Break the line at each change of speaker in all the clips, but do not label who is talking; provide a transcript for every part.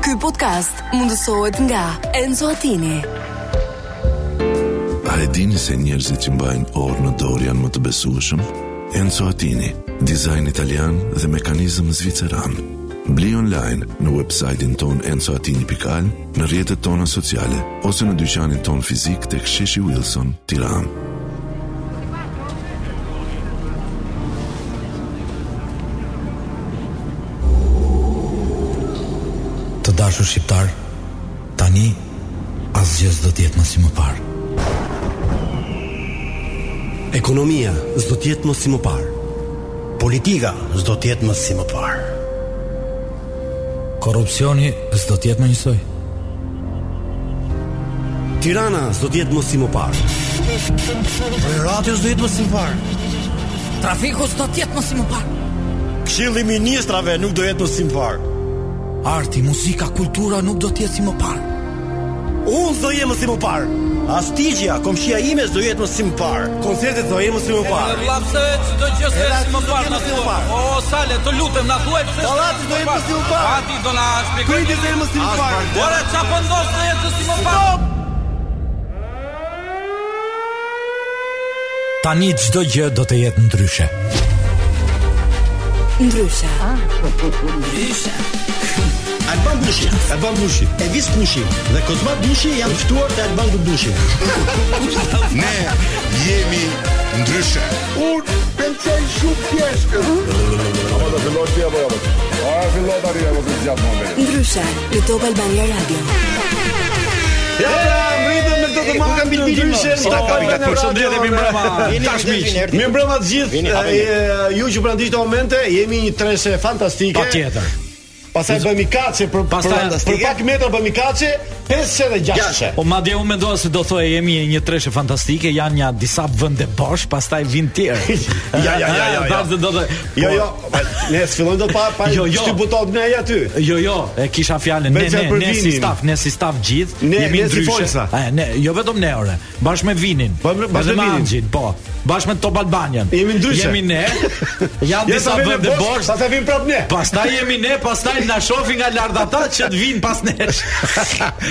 Ky podcast mundësohet nga Enzo Attini.
A e dini se njerëzit që mbajnë orë në dorë janë më të besueshëm? Enzo Attini, dizajn italian dhe mekanizëm zviceran. Bli online në website-in ton enzoatini.al, në rjetët tona sociale, ose në dyqanin ton fizik të ksheshi Wilson, tiran.
Të dashur shqiptar, tani asgjë s'do të jetë më si më parë.
Ekonomia s'do të jetë më si më parë. Politika s'do të jetë më si më parë.
Korrupsioni s'do të jetë më njësoj.
Tirana s'do të jetë më si më parë. Rati s'do jetë më si më parë.
Trafiku s'do të jetë më si më parë.
Këshilli i ministrave nuk do jetë më si më parë.
Arti, muzika, kultura nuk do të jetë si më parë.
Unë s'do jem më si më parë. Astigja, komshia ime s'do jetë më si më parë. Koncertet do jetë më si më parë.
Vllapse çdo gjë se
Edhe aty
si më
do
parë
jemi
na
si më
thuaj.
parë.
O sale, të lutem na thuaj pse.
Dallati do jemi si më parë.
Ati do na shpjegoj.
Kriti do jetë më si më parë.
Ora çfarë po ndos në jetë si më parë?
Tani çdo gjë do të jetë ndryshe.
Ndryshe,
Alban Bushi, Alban Bushi, Elvis Bushi dhe Kozma Bushi janë ftuar te Alban Bushi.
Ne jemi ndryshe.
Unë pëlqen shumë pjeshkën. Apo do filloj ti apo apo? A filloj tani apo të zgjat më vetë?
ndryshe në Top Albania Radio.
Ja, mritëm me këtë të marrë. Kam bilbilin ndryshe.
Ora kapi kapi. Përshëndetje mi mbrëma. Tash miq.
Mi mbrëma të gjithë. e, Ju që prandaj këto momente jemi një treshe fantastike.
Patjetër.
Pastaj bëjmë i kaçe për për,
Pastaj
për pak metra bëjmë i kaçe 5 dhe 6.
Po madje unë mendova se do thoya jemi një treshe fantastike, janë një disa vende bosh, pastaj vin tjerë.
Ja, ja, ja, ja, ja.
Pastaj do të Po,
Jo, jo, ma- ne s'fillojmë dot pa pa
Jo, jo.
shty butot ne ai aty.
Jo, jo, e kisha fjalën ne
Veçan
ne
për
ne si
vinin.
staf, ne si staf gjithë
Ne-
jemi
ne si
ndryshe.
folsa.
e, ne, jo vetëm ne ore, bashkë me vinin.
Po, me- bashkë
edhe
me vinin.
Anxhin, po. Bashkë me Top Albanian.
Jemi ndryshe.
Jemi ne. Janë
Ja
disa
sa vjen
vende bosh.
sa të vim prap ne.
Pastaj jemi ne, pastaj na shofi nga lart ata që të vinë pas nesh.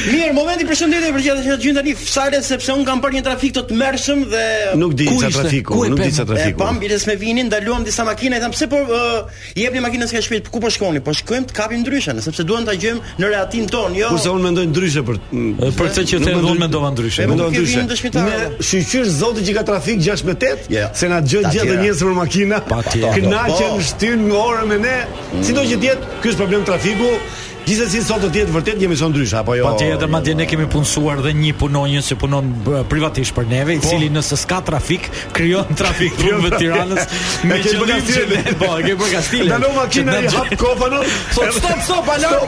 Mirë, momenti përshëndetje për gjithë që gjën tani fsale sepse un kam bërë një trafik të tmerrshëm dhe
Nuk di
Ku
çfarë
ishte?
trafiku,
Ku e
nuk di
pem?
çfarë
e
trafiku.
pam biles me vinin, ndaluam disa makina, i tham pse po uh, jepni makinës nga shtëpi, ku po shkoni? Po shkojmë të kapim ndryshën, sepse duam ta gjejmë në rehatin ton, jo.
Kurse unë mendoj ndryshe për
Për këtë që the, unë mendova ndryshe.
E mendova
Nuk e
ndryshe.
vinin dëshmitarë,
Ne
dhe.
shqyqysh zoti që ka trafik 6 me 8,
Ja.
se na gjën
Ta
gjatë
tjera.
njerëz për makina.
Pa tjera.
Kënaqem,
Po. Mm.
shtyn në orën me ne. Sido që të jetë, ky është problem trafiku. Gjithsesi sot do të jetë vërtet një emision ndryshe apo jo?
Patjetër, madje ne kemi punësuar dhe një punonjës që punon bë, privatisht për neve,
Po.
i cili nëse s'ka trafik, krijon trafik të rrugëve të Tiranës me
E ke bërë
qëllim që
Kastilen.
ne, po, e ke bërë Kastilen.
Ndalo makina i hap kofën.
Thot stop, stop, alarm.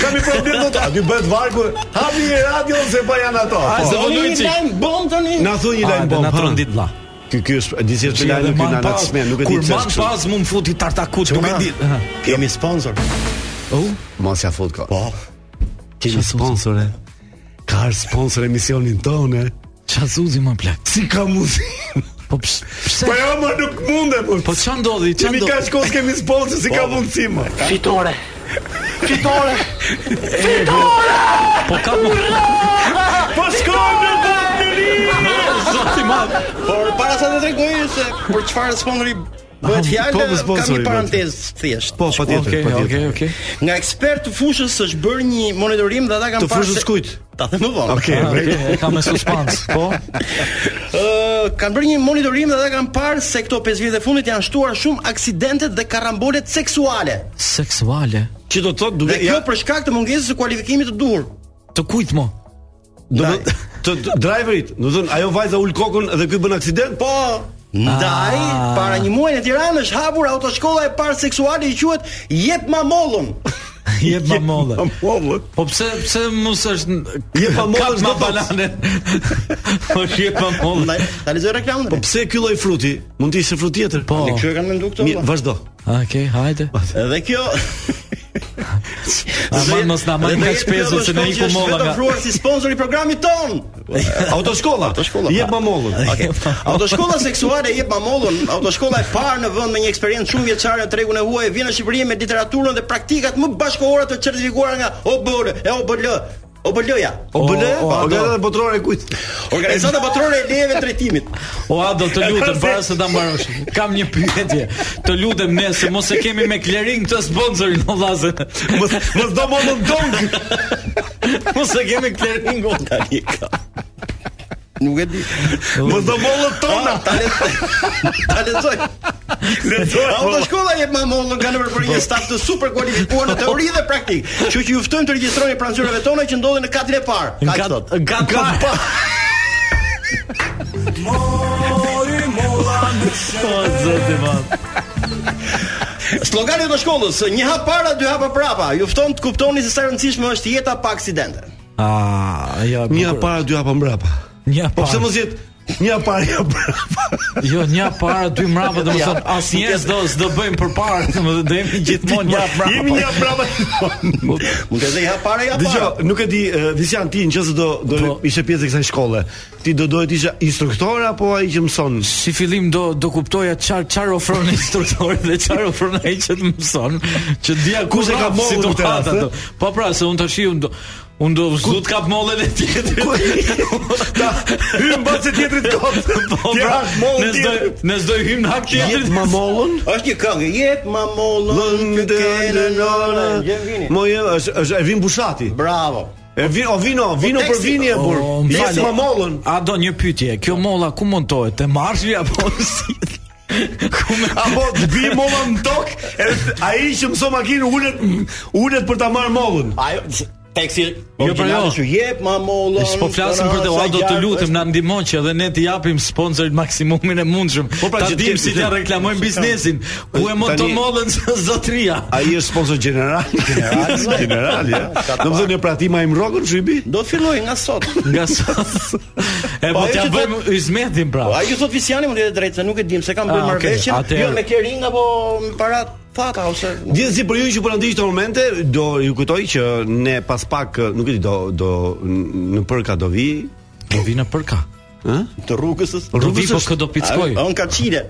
Kam një problem do të aty bëhet vargu. Hapi një radio se pa janë ato.
A,
Po.
se po
Një
dojnë çik.
lajm bomb tani.
Na thuj një lajm
Hajde,
bomb.
na
ha.
trondit vlla.
Ky ky është di si është
Që edhe
lajmi ky
man
na na
pas,
smen, nuk e di
Kur
pse.
man
është kështu.
pas më futi tartakut, nuk e
Çuna.
di. Aha.
Kemi sponsor.
Oh,
Mos ja fut ka. Po. Kemi sponsor. e. Ka arë sponsor emisionin tonë. e.
çfarë zuzi më plak.
Si ka mundësi?
Po ps- pse?
Po jo, më nuk mundem. unë.
Po ç'a ndodhi? Ç'a
Kemi
ndodhi?
kaq kohë kemi sponsor, si ka mundësi më?
Po ka më
Po shkojmë në Balkani.
zoti madh.
Por para sa të tregoj se për çfarë sponsori bëhet
po,
fjalë,
për
kam
sponsorin
një
bëhet.
parantezë thjesht.
Po, patjetër,
Okej, okej,
patjetër.
okej.
Nga ekspert të fushës është bërë një monitorim dhe ata kanë
Të fushës
se-
kujt?
Ta them më vonë.
Okej,
Ah,
okay,
Okej, e kam me suspans. Po.
Ë, kanë bërë një monitorim dhe ata kanë parë se këto 5 vjet e fundit janë shtuar shumë aksidentet dhe karambolet seksuale.
Seksuale.
Çi do të thotë
Dhe
duke
kjo për shkak të mungesës së kualifikimit të duhur.
Të kujt mo?
Do të thot- të të- driverit, do të thonë ajo vajza ul kokën dhe ky bën aksident? Po.
Ndaj,
Ah.
para një muaji në Tiranë është hapur autoshkolla e parë seksuale i quhet Jep Mamollën.
Jep mamollë.
Mamollë.
Po pse pse mos është
Jep mamollë
Kap
çdo
ma
box.
balane. Po jep mamollë.
Ndaj, ta lexoj reklamën.
Po pse ky lloj fruti? Mund të ishte frut tjetër.
Po.
Ne kjo e kanë menduar këto.
Mirë,
valla.
vazhdo.
Okej, hajde.
Dhe kjo
Aman mos na marrin nga shpezu se ne iku molla
Vetë
nga.
ofruar si sponsor i programit ton.
Autoshkolla.
Autoshkolla,
Jep
pra.
mamollën.
Okej. Autoshkolla seksuale jep mamollën, autoshkolla e parë në vend me një eksperiencë shumë vjeçare në tregun e huaj vjen në Shqipëri me literaturën dhe praktikat më bashkëkohore të certifikuara nga OBL e OBL. OBL-ja.
O, o,
Po
OBL-ja.
gjata botërore kujt?
Organizata botërore e lejeve të drejtimit.
O a do të lutem para se ta mbarosh. Kam një pyetje. Të lutem ne se mos e kemi me clearing këtë sponsorin o vllazë.
Mos mos do mollën dong.
Mos e kemi clearingun.
Tani ka. Nuk e di.
Mos do mollën tona.
Ta lexoj. Ta lexoj.
Lexoj, po.
Autoshkolla jep mamollën kanë për
Po.
një staf të super kualifikuar në teori dhe praktik. Kështu që ju ftojmë të regjistroni pranë zyrave tona që ndodhen në katin e parë. Ka që thot.
gat pa. Mori molla në zoti ma.
Slogani i autoshkollës, një hap para, dy hapa prapa. Ju fton të kuptoni se sa e rëndësishme është jeta pa aksidente.
Ah, jo. e
Një
bukur.
para dy hapa mbrapa.
Një
Po pse
parë.
mos jet një para një mbrapa?
Jo, një para, dy mrapa, domethënë
Ja.
asnjëherë s'do s'do bëjmë përpara, domethënë do jemi gjithmonë një mrapa.
Jemi një mbrapa.
Mund të zej hap para, ja para.
Dgjoj, nuk e di, e, Visian ti nëse do do
Po.
ishe pjesë e kësaj shkolle, ti do dohet isha instruktor apo ai që mëson?
Si fillim do do kuptoja çfar çfar ofron instruktori dhe çfar ofron ai që të mëson, që dia ku
Kush e ka
vrap
mollën në këtë
situata
rast,
do. Po pra, se unë tash unë do unë do zut kap mollën e tjetrit.
Ta hym mbas e tjetrit kot.
Po
Ti
pra,
hash mollën
ne s'do
tjetrit.
ne s'do i hym në hak tjetrit.
Jep ma mollën.
Është një këngë, jep mamollën që kene nona. Jem vini.
Mo je është është Ervin Bushati.
Bravo.
E vin, o vino, vino për
teksti-
vini e bur.
O, më
Jep
falni.
ma mollën.
A do një pyetje, kjo molla ku montohet? Te marshi apo si? Ku me
Apo po, të bi molla në tokë, edhe ai që mëson makinë ulet ulet për ta marr mollën.
Ajo teksti
Jo, po,
origjinal
jo.
është jep mamollën.
Po po flasim për të, o, do të lutem na ndihmon që edhe ne të japim sponsorit maksimumin e mundshëm.
Po, pra,
ta
që
dim
t'jep-
si ta reklamojmë biznesin. Ku e mund të
Tani-
mollën zotria?
Ai është sponsor general, general, general, ja. Do të thonë pratima im rrokun çibi.
Do të filloj nga sot.
Nga sot. E po
ajo
t'ja
që
bëjmë izmetin pra.
Po ai ju thot Visiani mund të jetë drejtë, se nuk e dim se kam bërë
Ah, okay,
marrëveshje,
atëherë-
jo me kering apo me para thata ose
Gjithsesi për ju që po na ndiqni këto momente, do ju kujtoj që ne pas pak, nuk e di, do do në përka do vi.
Do vi në përka.
Po,
të rrugës. së-
Do vi
Rrugës
po
është-
kë do pickoj.
A, On ka çile.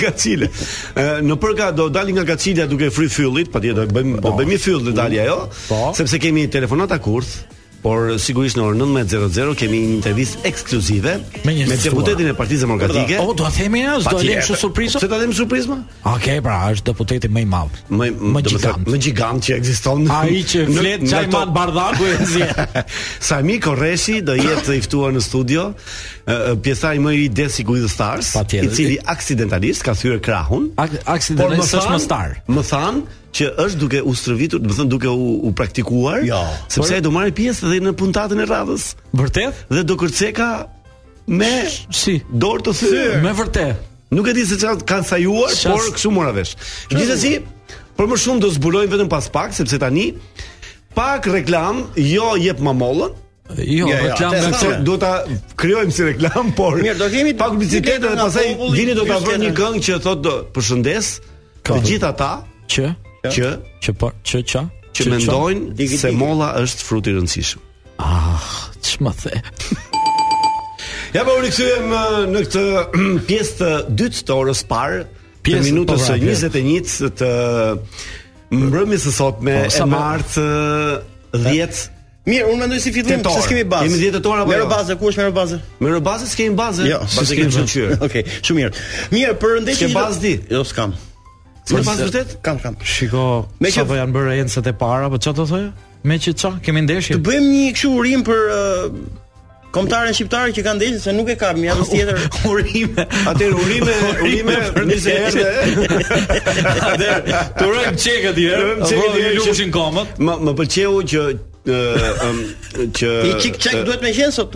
nga Cile. Ë, Në përka do dalim nga Gacilja duke fry fyllit, patjetër do bëjmë do bëjmë një fyll në dalje ajo,
Po.
sepse kemi telefonata kurth, por sigurisht në orën 19:00 kemi një intervistë ekskluzive
Me një
me
zgjuar.
deputetin e Partisë Demokratike.
O, do a themi ja, s'do lëm
pra. Patjetër.
kështu surprizë?
Pse ta them surprizë? ma?
Okej, pra, është deputeti më i madh.
Më
Më
do të thënë,
gjigant.
Më gigant që ekziston. në-
Ai që
në-
flet
në
çaj
ato-
man bardhaku e zje.
Sami Korreshi do jetë i ftuar në studio, ë, ë, pjesëtari më i ri Desi Guido Stars,
Patjetër.
i cili aksidentalisht ka thyer krahun.
Ak- aksidentalisht është më star.
Më than që është duke u stërvitur, do të thënë duke u, u praktikuar,
Jo.
sepse ai do marrë pjesë edhe në puntatën e radhës
Vërtet?
dhe do kërceka me
Si?
dorë të thyrë.
Me vërtet.
Nuk e di se çfarë kanë sajuar,
Çfarë-
por kështu mora vesh. Gjithsesi, për më shumë do zbulojmë vetëm pas pak, sepse tani pak reklam, jo jep mamollën.
Jo,
Ja, ja,
reklam
te
nga
s'ka
Se
kjo.
me.
do ta krijojmë si reklam, por
Mirë, do kemi
pak publicitet
dy letër
dhe
nga
pastaj
populli,
vini do ta
dy
vënë një
letër.
këngë që thotë do përshëndes të gjithë ata
Që?
që
Që po, që që?
që
ç'a?
mendojnë
Digi,
se
digi.
molla është frut i rëndësishëm.
Ç'më the?
Ja po u rikthyem ë, në këtë uh, pjesë të dytë të orës parë, të
Pjesë,
minutës
po,
së
pra,
21 të mbrëmjes së sotme
Po,
e uh,
sa më-
martë ë, 10
Mirë, unë mendoj si fillim,
Tetor.
se s'kemi bazë.
Jemi 10 tetor apo
Merë
jo?
bazë, ku është merë bazë?
Me rëbazë s'kemi bazë.
Jo,
bazë kemi shoqyr.
Okej, shumë mirë. Mirë, për ndeshjen
S'ke bazë di?
Jo, s'kam.
S'ke bazë vërtet?
Kam, kam.
Shiko,
Me
sa
që-
po janë bërë encët e para, po çfarë do thoya? Me që ça, kemi ndeshje.
Të bëjmë një kështu urim për uh, kombëtaren shqiptare që kanë ndeshur se nuk e kam, ja vetë tjetër.
Urime.
Atëherë urime, urime
për
20 herë. dhe-
Atëherë, të urojmë çeka di herë.
Urojmë çeka dy herë që-
Lumushin komët.
Më më pëlqeu që ë, ëm, që
I çik çak duhet me qenë sot.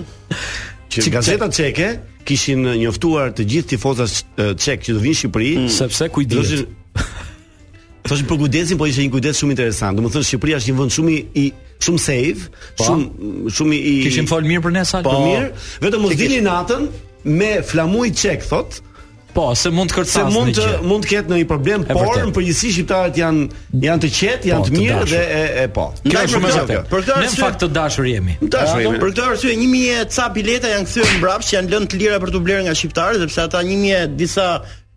që gazeta çeke kishin njoftuar të gjithë tifozat ë, çek që do vinë në Shqipëri.
Sepse kujdes.
Thoshin Thoshin për kujdesin, po ishte një kujdes shumë interesant. Domethënë Shqipëria është një vend shumë i- i shumë safe, shumë shumë i
Kishin fol mirë për ne Po, sa.
Po mirë, vetëm mos dilni natën me flamuj çek thot.
Po, se mund të
se
kërcas në
mund të
gjë.
mund të ketë ndonjë problem, por
vërtet.
në përgjithësi shqiptarët janë janë të qetë, janë
Po,
të
të
mirë
dashur.
dhe e, e po.
Ndaj
Kjo është shumë e
për këtë,
vërtetë.
për këtë
Ne në
arsye-
fakt të dashur jemi.
Dashur jemi.
Për këtë arsye 1000 e ca bileta janë kthyer mbrapsht, janë lënë të lira për të blerë nga shqiptarët, sepse ata 1000 e disa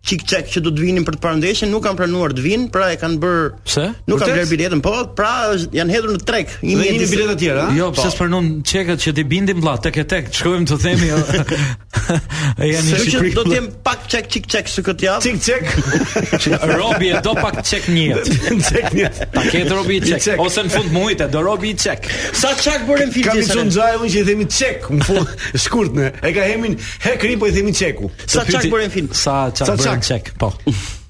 çik çek që do të vinin për të parëndeshjen nuk kanë planuar të vinë, pra e kanë bër
Pse?
Nuk kanë
Vërtet?
bler biletën, po, pra është- janë hedhur në treg. 1000
Dhe jemi
disa-
bileta të tjera, a?
Jo, pse s'pranon çekët që ti bindim vlla, tek e tek, shkojmë të themi. jo. E janë në
Kështu që
Shqipëri.
do të jem pak çek çik çek së këtë javë.
Cik cek.
Robi e do pak çek njët.
Cek një.
Ta ketë robi i
I çek.
çek ose në fund muajit e do robi i çek.
Sa çak bërim film
Kam i
disa
çon
ne?
xhajun që i themi çek, në fund shkurt ne. E ka hemin hekri po i themi çeku.
Sa
Të
çak
pyeti-
bërim film?
Sa çak
Sa
bërim
çak?
çek, po.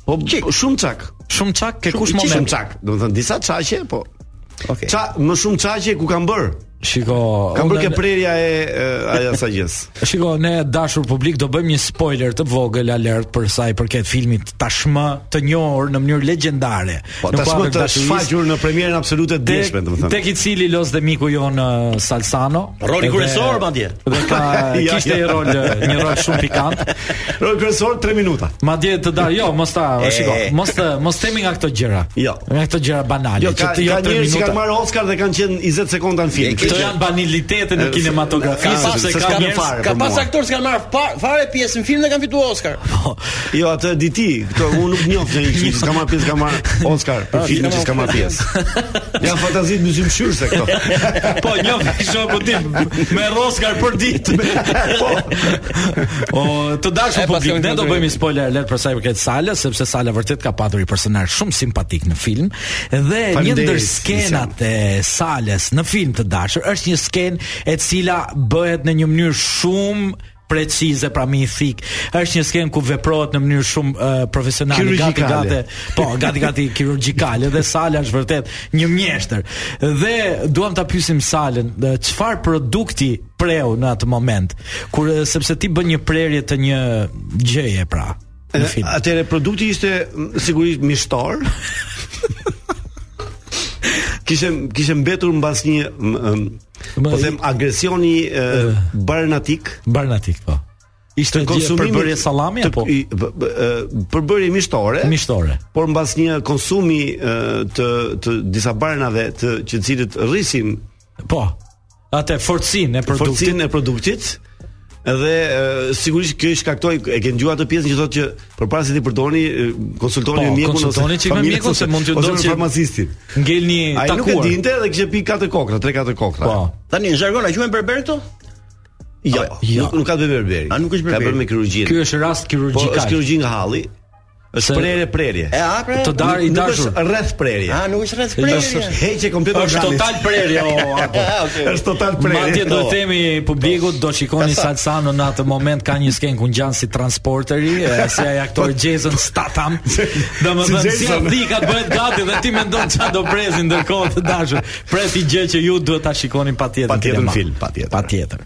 Po po, shumë çak.
Shumë çak ke kush
Shumë
moment.
çak. Do të thënë disa çaqe, po.
Okej.
Ça më shumë çaqe ku kam bër.
Shiko,
Kam bër
unë-
ke prerja e e, aja sa gjës.
Shiko, ne dashur publik do bëjmë një spoiler të vogël alert për sa i përket filmit tashmë të njohur në mënyrë legjendare.
Po
Në
tashmë
kuadër
të
dashurisë,
shfaqur në premierën absolute të
Tek,
djeshme, domethënë.
tek i cili los dhe miku jon uh, Salsano.
Roli
Edhe-
kryesor, madje.
Dhe ka
Ja,
kishte
ja.
një rol uh, një rol shumë pikant.
Rol kryesor 3 minuta.
Madje të dar, jo, mos ta,
E.
shiko, mos të mos themi nga këto gjëra.
Jo.
Nga këto gjëra banale
Jo, ka,
të
ka
jap tre
njerëz që
minuta.
kanë marrë Oscar dhe kanë qenë 20 sekonda në film.
Këto janë banalitete në kinematografi,
Ka-
sepse
se
ka
s'ka në
njerëz
fare.
Ka
për
pas
mua.
aktorë që kanë marrë fa- fare pjesë në film dhe kanë fituar Oscar.
Jo, atë di ti, këto unë nuk njoh se që s'ka marrë pjesë, ka marrë Oscar për filmin që Ah, s'ka marrë pjesë. Janë fantazi të myzymshyrse këto.
Po, një shoku tim me Oscar për ditë. po. O, të dashur
E, pas
publik,
kemi
ne do
kontrolin.
bëjmë një spoiler alert për sa i përket Sala, sepse Sala vërtet ka patur një personazh shumë simpatik në film dhe një
Faleminderit,
ndër skenat e Sales në film të dashur është një skenë e cila bëhet në një mënyrë shumë precize pra mi i thik është një skenë ku veprohet në mënyrë shumë uh, profesionale gati
Kirurgjikale.
gati po gati gati kirurgjikale dhe Sala është vërtet një mjeshtër dhe duam ta pyesim Salën dhe çfarë produkti preu në atë moment kur eh, sepse ti bën një prerje të një gjëje pra në film
Atëre produkti ishte m, sigurisht mishtor. kishte kishte mbetur mbas një m, m,
Ma
po
i-
them agresioni e, barnatik
barnatik po ishte
të
gjë
konsumimit
përbërje sallami
të-
apo
i- b- b- e, përbërje mishtore
mishtore
por mbas një konsumi e, të të disa barnave të që të cilët rrisin
po atë forcin e produktit
forcinë e produktit dhe e, sigurisht kjo i shkaktoi e ke dëgjuar atë pjesën që thotë që përpara se ti përdorni e, konsultoni
Po,
me mjekun
konsultoni çik me
familjen
mjekun, se mund t'ju
ose
ndodhë
me
që-
farmacistin.
ngel një
Ai nuk e
takuar
dinte pra. dhe kishte pi katër kokra, 3-4 kokra.
po
Tani në jargon a quhen berber këto?
Jo,
Jo.
nuk, nuk ka të bëj berberi.
A, nuk është berberi?
Ka bërë me kirurgjinë.
ky është rast
po është
kirurgjikal
kirurgji nga halli.
Se-
Është prerje prerje.
E a pra?
Të da- Dar i
Nuk-
dashur.
Nuk është rreth prerje.
A nuk është rreth
Është-
prerje.
Heqje komplet
është
organit.
total prerje o apo
Okej.
Është total prerje.
Madje do
Po.
të themi publikut do shikoni Salsano në atë moment ka një skenë ku ngjan si transporteri, e, si ai aktor Jason Statham. Domethënë
si
si
Jason.
dhika të bëhet gati dhe ti mendon çfarë do presin ndërkohë të dashur. Presi gjë që ju duhet ta shikoni patjetër.
Patjetër
kinema.
në film, patjetër.
Patjetër.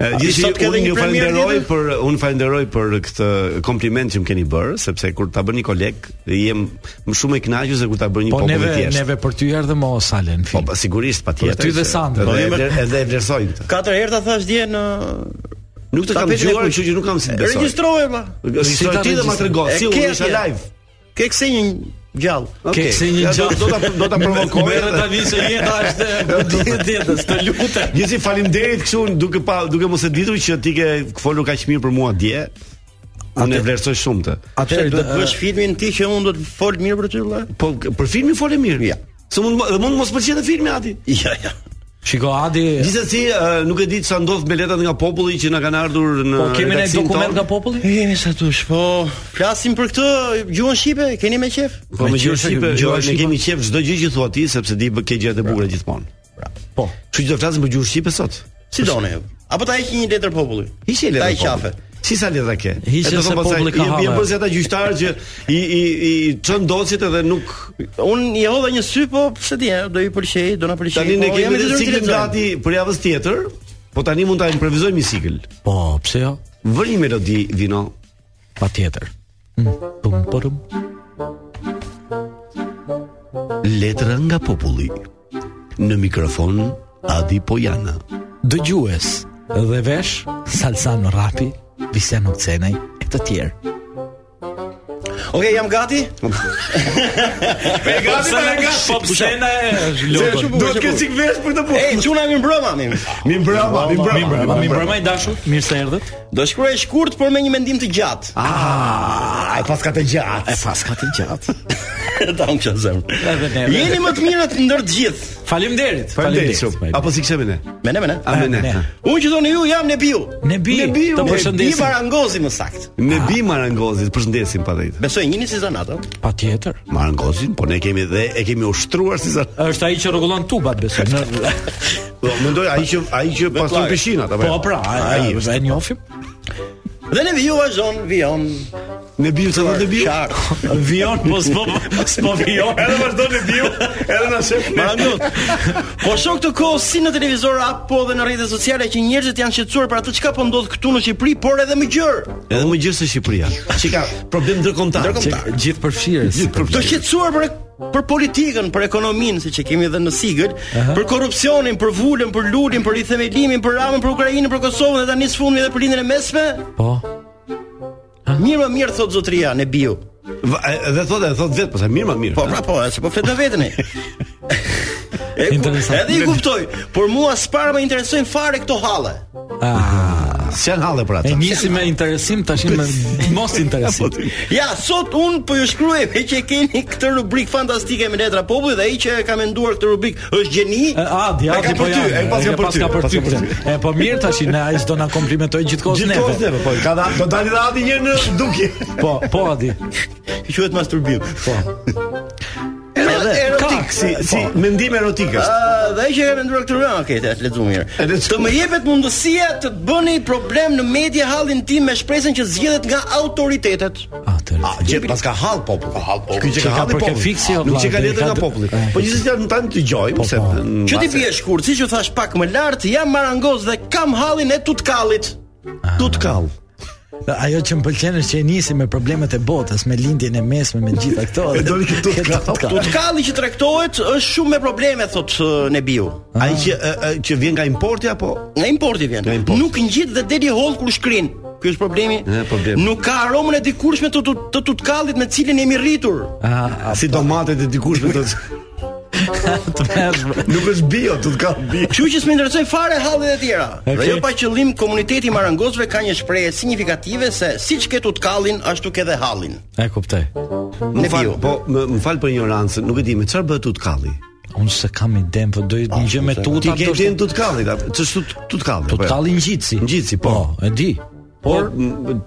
E,
sot
Gjithsesi
ka
unë
dhe një
ju
premierë
falenderoj
tjetër?
për unë falenderoj për këtë kompliment që më keni bërë, sepse kur ta bën një koleg jem më shumë e kënaqur se kur ta bën një
Po
popull
neve
i thjeshtë.
neve për ty erdhe mo sale në
Po
film.
pa, sigurisht patjetër.
Për ty dhe
se-
Sandra.
Edhe
Po,
e- edhe e vlerësoj këtë.
Katër herë ta thash dje në
Nuk të kam
Tapetin e
dëgjuar,
kuq.
kështu që nuk kam si të besoj.
Regjistrove valla.
Registroj
Si ta
ti dhe ma
regjistro-
trego,
E
si
ke
unë isha
atje.
live.
Ke kse një gjallë.
Okej.
Ke se një
Ja, do-
gjallë.
Do ta do ta provokoj.
Merre
edhe-
tani se jeta është e ditës, të lutem.
Gjithsesi faleminderit kështu duke pa duke mos e ditur që ti ke folur kaq mirë për mua dje. Unë e vlerësoj shumë të.
Atëherë do të
bësh
bësh filmin ti që unë do të fol mirë për ty valla.
Po për filmin fole mirë. Ja. Se mund dhe mund mos pëlqen filmi ati.
Ja, ja.
Shiko Adi,
Gjithsesi ë, nuk e di sa ndodh me letrat nga populli që na kanë ardhur në
po kemi ne
redaksin
dokument
ton.
nga po- populli?
Jemi sa tush, po flasim për këtë gjuhën shqipe, keni me qef?
Po me gjë shqipe,
gjuhë
ne
shqipe.
kemi qef çdo gjë që thua ti sepse di bë- ke gjërat e bukura gjithmonë.
Po.
Kështu që do flasim për gjuhë shqipe sot.
Si doni ju? Apo ta heqni një letër populli?
Hiqe letra.
Ta i
populli.
qafe.
Si sa letra ke?
Hiqe
E do
se
thon pastaj,
populli ka
jep- jep
hava.
bërë si ata gjyqtarë që i i i çon docit edhe nuk
Unë i hodha një sy, po pse di, e, do i pëlqej, do na pëlqej.
tani ne
po, jam i
kemi edhe
detyruar t'i
ciklin
lexoj.
gati për javës tjetër, po tani mund ta improvisojmë një sikël.
Po, pse jo?
Vër një melodi vino.
Patjetër. Mm, Pum porum.
Letra nga populli. Në mikrofon Adi Pojana.
Dëgjues dhe vesh Salsan Rapi, Viseno Cenaj e të tjerë.
Okej, jam gati.
Po, E gati ta e gati.
Po pse na e logon?
Do të kesh sik vesh për këtë punë.
Ej, çuna mi mbroma mi.
Eh, Mi mbrëma, mi mbrëma.
Mi mbrëma i dashur, mirë se erdhët.
Do shkruaj shkurt por me një mendim të gjatë.
Ah, e pas ka të gjatë.
paska të gjatë.
Ta unë çfarë zemër.
Edhe ne.
Jeni më të mirët ndër të gjithë.
Faleminderit.
Faleminderit shumë. Apo si kishemi ne?
Me ne, me ne.
A me ne?
Ne.
Unë që thoni ju jam Nebiu.
Nebi,
Nebiu.
të
Nebi
përshëndesim.
Marangozi më saktë.
Ne bi marangozit, përshëndesim patjetër.
Besoj njëni si zanata.
Patjetër.
Marangozin, po ne kemi dhe e kemi ushtruar si sa.
Është ai që rregullon tubat besoj. Në
Do mendoj ai që ai që pastron pishinat apo. jo?
po pra, ai
ai.
e njohim.
Dhe Nebiu vazhdon, vion.
Ne biu sa do të biu.
qartë.
Vion po s'po s'po vion.
Edhe vazhdon ne biu, edhe na shef. ne.
Marangoz. Po shoh këtë kohë si në televizor apo edhe në rrjetet sociale që njerëzit janë shqetësuar për atë çka po ndodh këtu në Shqipëri, por edhe më gjërë.
Edhe më gjithë se Shqipëria. Çka problem ndërkombëtar.
Ndërkombëtar.
Që-
Gjithë përfshirës.
Gjithë
Të
problem.
shqetësuar për për politikën, për ekonominë, siç e kemi edhe në sigël, për korrupsionin, për vulën, për lulin, për rithemelimin, për ramën, për Ukrainën, për Kosovën dhe tani së fundmi edhe për lindjen e mesme.
Po.
Mirë më mirë thot zotëria në biu.
Va- e- Edhe thotë, edhe thotë vetë, po se mirë më mirë.
Po pra po, e se po flet me veten ai. E, ku-
Interesant.
Edhe i kuptoj, por mua s'para më interesojnë fare këto halle.
s'jan Ah, halle për
Ah, E
atë.
nisi me interesim tashin me mos interesim.
Po,
Ja, sot un po ju shkruaj me që e keni këtë rubrik fantastike me letra popullit dhe ai që e ka menduar këtë rubrik është gjeni.
E, Adi,
E ka
Adi po
për
ja.
ty, e pas ka për ty,
për
pas
ty.
ka për ty.
pra. E po mirë tash ne ai s'do na komplimentoj gjithkohë ne.
Gjithkohë ne, po ka da- do dali dhe ati një në dukje.
Po, po Adi.
Që quhet masturbim.
Po.
Erotik
Si si mendim erotik është.
Ë, dhe ai që e ka menduar këtë rënë, okay, të lexoj mirë.
E lexoj.
Të më jepet mundësia të të bëni problem në media hallin tim me shpresën që zgjidhet nga autoritetet.
Atëherë.
Gjithë pas ka hall popull. Ka hall popull. Ky që
Që
ka
ka
halli
përke
popull.
fiksi, o
Nuk
vlla,
që ka
dhe
letër
ka
nga
të-
populli.
e.
Po gjithsesi janë tani dëgjojmë se
po.
n-
Që ti
mbase-
bie shkurt, siç ju thash pak më lart, jam marangoz dhe kam hallin e tutkallit.
Ah.
tutkall.
Ajo që më pëlqen është që e nisi me problemet e botës, me lindjen e mesme, me gjitha këto.
E doli këtu tutkall.
Tutkalli që tregtohet është shumë me probleme thot ë, Nebiu.
Ai që e, e, që vjen nga importi apo
Nga importi vjen.
Nga importi.
Nuk ngjit dhe deli holl kur shkrin. Ky është problemi.
E, problemi.
Nuk ka aromën e dikurshme të, tut- të tutkallit me cilin jemi rritur.
Ah,
si domatet e dikush me të
të mëshme.
nuk është bio, tutkall bio.
Kështu që s'më interesoj fare hallet e tjera.
Okay.
Dhe jo pa qëllim komuniteti i marangozëve ka një shprehje signifikative se siç ke tutkallin ashtu ke dhe hallin.
E kuptoj.
Më fal,
bio.
po më, më fal për ignorancën, nuk e di me çfarë bëhet tutkalli.
Unë se kam idem, po doj një gjë me
Ah, Ti
tuta.
ke
ndoshta-
den tutkalli, ta- ç'është tut, tutkalli?
Tutkalli ngjitsi.
Ngjitsi, po.
e di.
Por
Por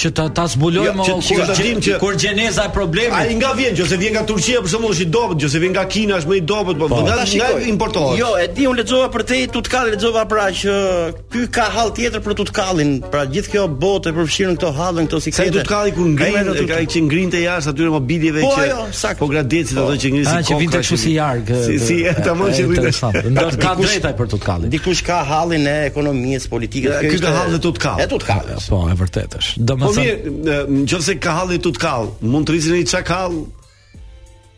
që ta ta zbulojmë o,
Jo, që- që ta dim që-
kur gjeneza e
ai
problemit.
nga vjen, nëse vjen nga Turqia për shembull është i dobët, nëse vjen nga Kina është më i dobët, po nga
Ta
nga
shikoj.
importohet.
Jo, e di, unë lexova për te tutkallin, lexova pra që ky ka hall tjetër për tutkallin, pra gjithë kjo botë e përfshirën këto hallën, këto
Sa i
sikete.
tutkalli kur ngrihen,
Ai
ka që ngrinte jashtë atyre mobiljeve
Po,
që
ajo, saktë.
po gradecit ato që ngrisin
A Ah, që vinte
kokra,
kështu si jarg. e,
Si si
e,
tamam
e,
që vinte.
Interesant. Ndër ka drejtaj për tutkallin.
Dikush ka hallin e ekonomisë, politikës.
Ky
kjo
ka
ishte-
hall dhe tutkall.
E tutkallis.
Po, e vërtet është. Do më
Po
thënë,
mirë, nëse ka halli tutkall, mund të rrisin një çakall.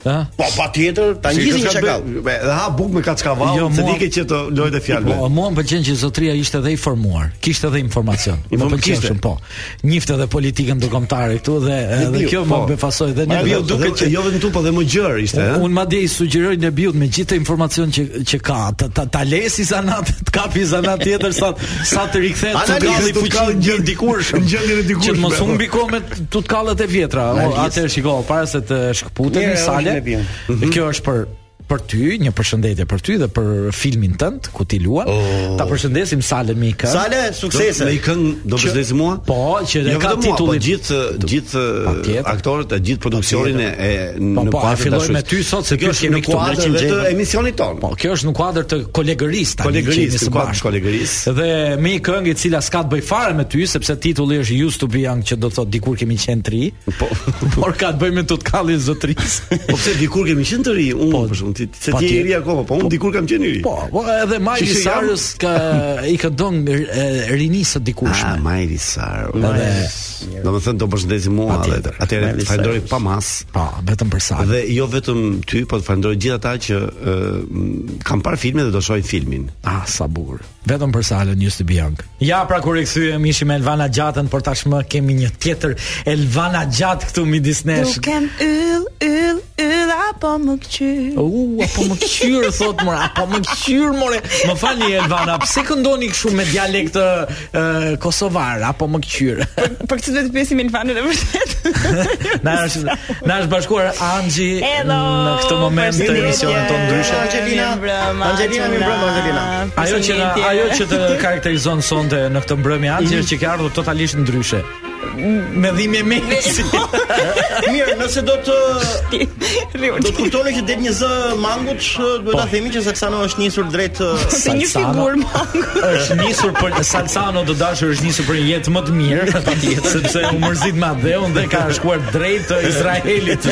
ha?
Po patjetër, ta ngjisin
ka
çakall.
bë- be- Dhe ha buk me kaçkavall,
Jo,
se
mua-
di ke që të lojë të fjalëve.
Po, mua më pëlqen që zotria ishte edhe informuar, kishte edhe informacion. Më
Inform-
pëlqen
kishte.
shumë, po. Njifte edhe politikën ndërkombëtare këtu dhe edhe
Biu,
kjo
po.
më befasoi dhe
Ne
ne
bio duket që jo vetëm tu, po dhe më gjër ishte, ha.
Unë madje i sugjeroj në biut me gjithë të informacion që që ka, ta ta, ta lesi zanat, të kapi zanat tjetër sa sa të rikthehet
Analizë
tutkalli fuqi
tutkalli gjë-
gjën dikursh,
gjendjen e dikurshme.
Që mos humbi kohë me tutkallet e vjetra. O, Atëherë shiko, para se të shkputemi
Mirë, është
sale.
në biu.
Kjo është për për ty, një përshëndetje për ty dhe për filmin tënd ku ti luan. Ta përshëndesim Sale Mika.
Sale,
Do-
suksese.
Me i këngë do
Që-
vëzhdesi mua?
Po, që
Jo
dhe ka
vetëm
titullin.
mua, Po gjithë gjithë
Patjetër.
aktorët, e gjithë produksionin e e-
Po,
në
po, a
kuadër
filloj
dashurisë.
me ty sot, se
Kjo
kjo
është
kemi
në
këtu,
kuadër
në
dhe të
100
emisionit tonë.
Po, kjo është në kuadër të kolegërisë tani.
Kolegërisë,
që jemi së
në kuadër
bashku.
kolegërisë.
Dhe me një këngë e cila s'ka të bëj fare me ty, sepse titulli është Used to be young, që do të thotë dikur kemi qenë tri.
Po.
por ka të bëj me tutkallin e zotrisë.
Po pse dikur kemi qenë të ri, unë për shkak të ti se ti je i ri akoma, po unë dikur kam qenë i ri.
Po, po edhe Miley
Që që jam-
Cyrus ka i ka dhënë e, rinisë
Ah,
dikushme.
Majri Sar. Do të thënë do përshëndesim mua
Patjetër.
edhe. Atëherë
Miley
falenderoj
Cyrus.
pa mas.
Po, vetëm për sa.
Dhe jo vetëm ty, po të falenderoj gjithë ata që uh, kanë parë filmin dhe do shohin filmin.
Ah, sa bukur. Vetëm për Salën Used to be young. Ja, pra kur i kthyem ishim me Elvana Gjatën, por tashmë kemi një tjetër Elvana Gjatë këtu midis nesh.
Dukem yll, yll, yll, apo më këqyr
U, apo më qyrë, thot mora, apo më qyrë, more. Më falni, Elvana, pse këndoni këshu me dialekt uh, kosovar, apo më qyrë?
Për këtë duhet të pyesim Ilfanën e vërtet.
Na është, na është bashkuar Anxhi
Hello.
në këtë moment të
përshëndetje.
emisionit tonë ndryshe.
Angelina,
Mirëmbrëma,
Angelina, mirëmbrëma, Angelina.
Ajo që na,
Përshëndetje.
ajo që të karakterizon sonte në këtë mbrëmje Anxhi është që ka ardhur totalisht ndryshe. Me dhimbje mesi.
Mirë, nëse do të do të
Riu.
kuptoni që del një zë mangut, ë, duhet ta themi që Saksano është nisur drejt uh, ë,
Se një
Salsano.
figurë mangu.
është nisur për Salsano të dashur është nisur për një jetë më të mirë, patjetër, sepse u mërzit me Adheun dhe ka shkuar drejt të Izraelit.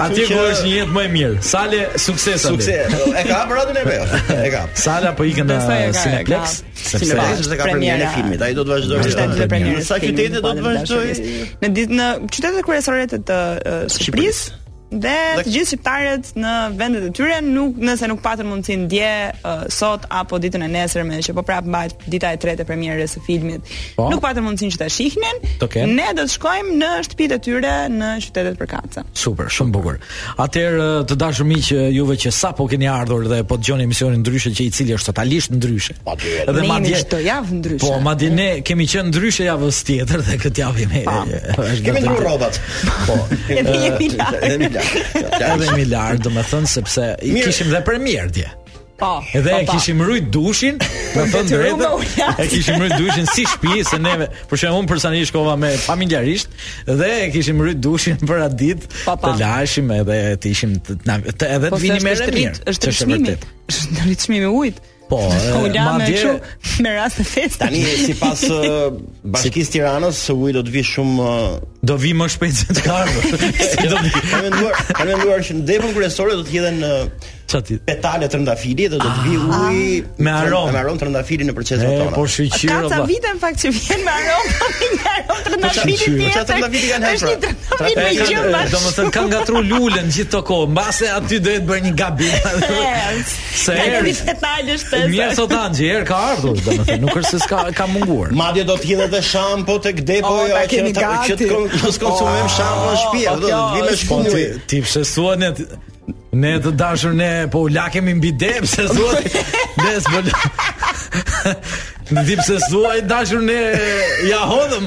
Atje ku është një jetë më e mirë. Sale sukses aty.
sukses. E ka hapur radhën e vet. E ka.
Sala po ikën në
Besoj e ka-
Cineplex,
ka.
sepse
Cineplex është e ka premierën e
Premiera.
filmit, ai do të vazhdojë.
Është ditë e premierës.
Sa
së filmit,
qytete do
po,
të
në
vazhdojë?
dashurisë. Në ditë në qytetet kryesore të të uh, Shqipërisë dhe të gjithë shqiptarët në vendet e tyre nuk nëse nuk patën mundësinë dje uh, sot apo ditën e nesërme që po prap mbahet dita e tretë e premierës së filmit.
Po.
Nuk patën mundësinë që ta shihnin.
Të kenë.
Ne do të shkojmë në shtëpitë e tyre në qytetet përkatëse.
Super, shumë bukur. Atëherë uh, të dashur miq juve që sapo keni ardhur dhe po dëgjoni emisionin ndryshe që i cili është totalisht ndryshe. Edhe
Ne jemi çdo javë ndryshe.
Po, madje ne kemi qenë ndryshe javës tjetër dhe këtë javë jemi. është
Kemi
vetëm-
ndruar rrobat. Po.
Edhe jemi lartë.
Edhe mi lart. Ja,
Edhe mi lart, domethënë sepse i
Mirë.
kishim dhe premier dje.
Po.
Edhe
po,
e
po.
kishim rrit dushin, me thënë
detyrova
drejtën.
u lasë.
E kishim rrit dushin si shtëpi se neve, për shembull unë personalisht shkova me familjarisht dhe e kishim rrit dushin për atë ditë,
Pa,
të
pa.
lashim edhe të ishim të, na, të edhe
Po
të
se
vinim
është
erë mirë.
rrit- është
që e
rritshmimi.
vërtet.
Është rritshmimi i ujit.
Po, e,
u la me
madje-
kështu me rast të festa.
Tani sipas ë, Bashkisë Tiranës, se uji do të vi shumë uh, ë,
Do vi më shpejt se të ardhur. Si do vi.
Kanë po menduar, kanë menduar që në depën kryesore do të hidhen ë,
Çati.
petale trëndafili dhe do të vi uji
Me aromë.
me aromë trëndafili në procesin
E,
tonë.
po shqyqyr
Ka ca
valla.
vite në fakt që vjen me aromë, po vjen me aromë të trëndafitit
qyre.
tjetër.
Qa trëndafiti kanë hapur?
Është një trëndafit
Tra- e,
me
kanë-
gjë
e,
bashkë.
Do më thënë kanë ngatru lulën gjithë të kohë Mbase aty do e të bërë një gabim Se
erë.
erë Mjerë sot angji, erë ka ardhur Do më thënë, nuk është se s'ka ka munguar
Madje do të hidhet edhe shampo tek depo
O,
jo
ta
që
keni
ta- që të
gati.
kon- mos konsumojmë shampo në shtëpi,
po,
do të vi me
kjo
Po
shkon
ti,
uji.
ti pse thua ne ne të dashur ne po u lakemi mbi dep se thua des po. Në dip se thua i dashur ne ja hodhëm.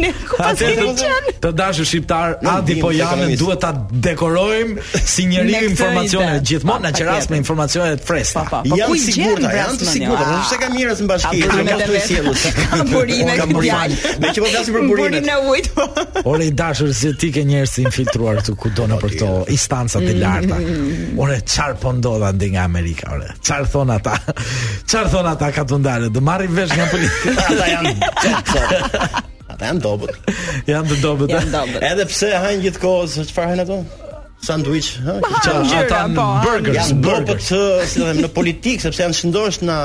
Ne ku pas
Atëherë,
kemi qenë?
të dashur shqiptar
Nuk
Adi
dim,
po janë
ekonomist.
duhet ta dekorojmë si
Me
njeriu
këtë
informacione
ide.
gjithmonë
Pa,
në qeras
patjetër.
me informacione të freskta.
Pa, pa. Po
janë
ku
të
i gjen
sigurta, janë të
Brasmani,
sigurta,
a?
nuk është se ka mirës në bashki,
Ka
nuk
burime
ashtu i
vetë.
sjellës.
Ka burime
Po, Ka
këtë
burime.
djalë.
Me që po flasim për burimet.
Burime ujit. po.
Ore i dashur se ti ke njerëz të infiltruar këtu kudo në për këto instanca të larta. Ore çfarë po ndodha ndë nga Amerika, ore. Çfarë thon ata? Çfarë thon ata katundarë? Do marrin vesh nga politika.
Ata janë Ata janë dobët.
Janë të eh? dobët.
Janë dobët.
Edhe pse hajnë gjithkohë, se çfarë hajnë ato? Sanduiç, ha?
Qa,
Gjëra,
ata
po,
në
han-
burgers,
Janë dobët,
burgers.
ë, si të them, në politikë sepse janë shëndosh në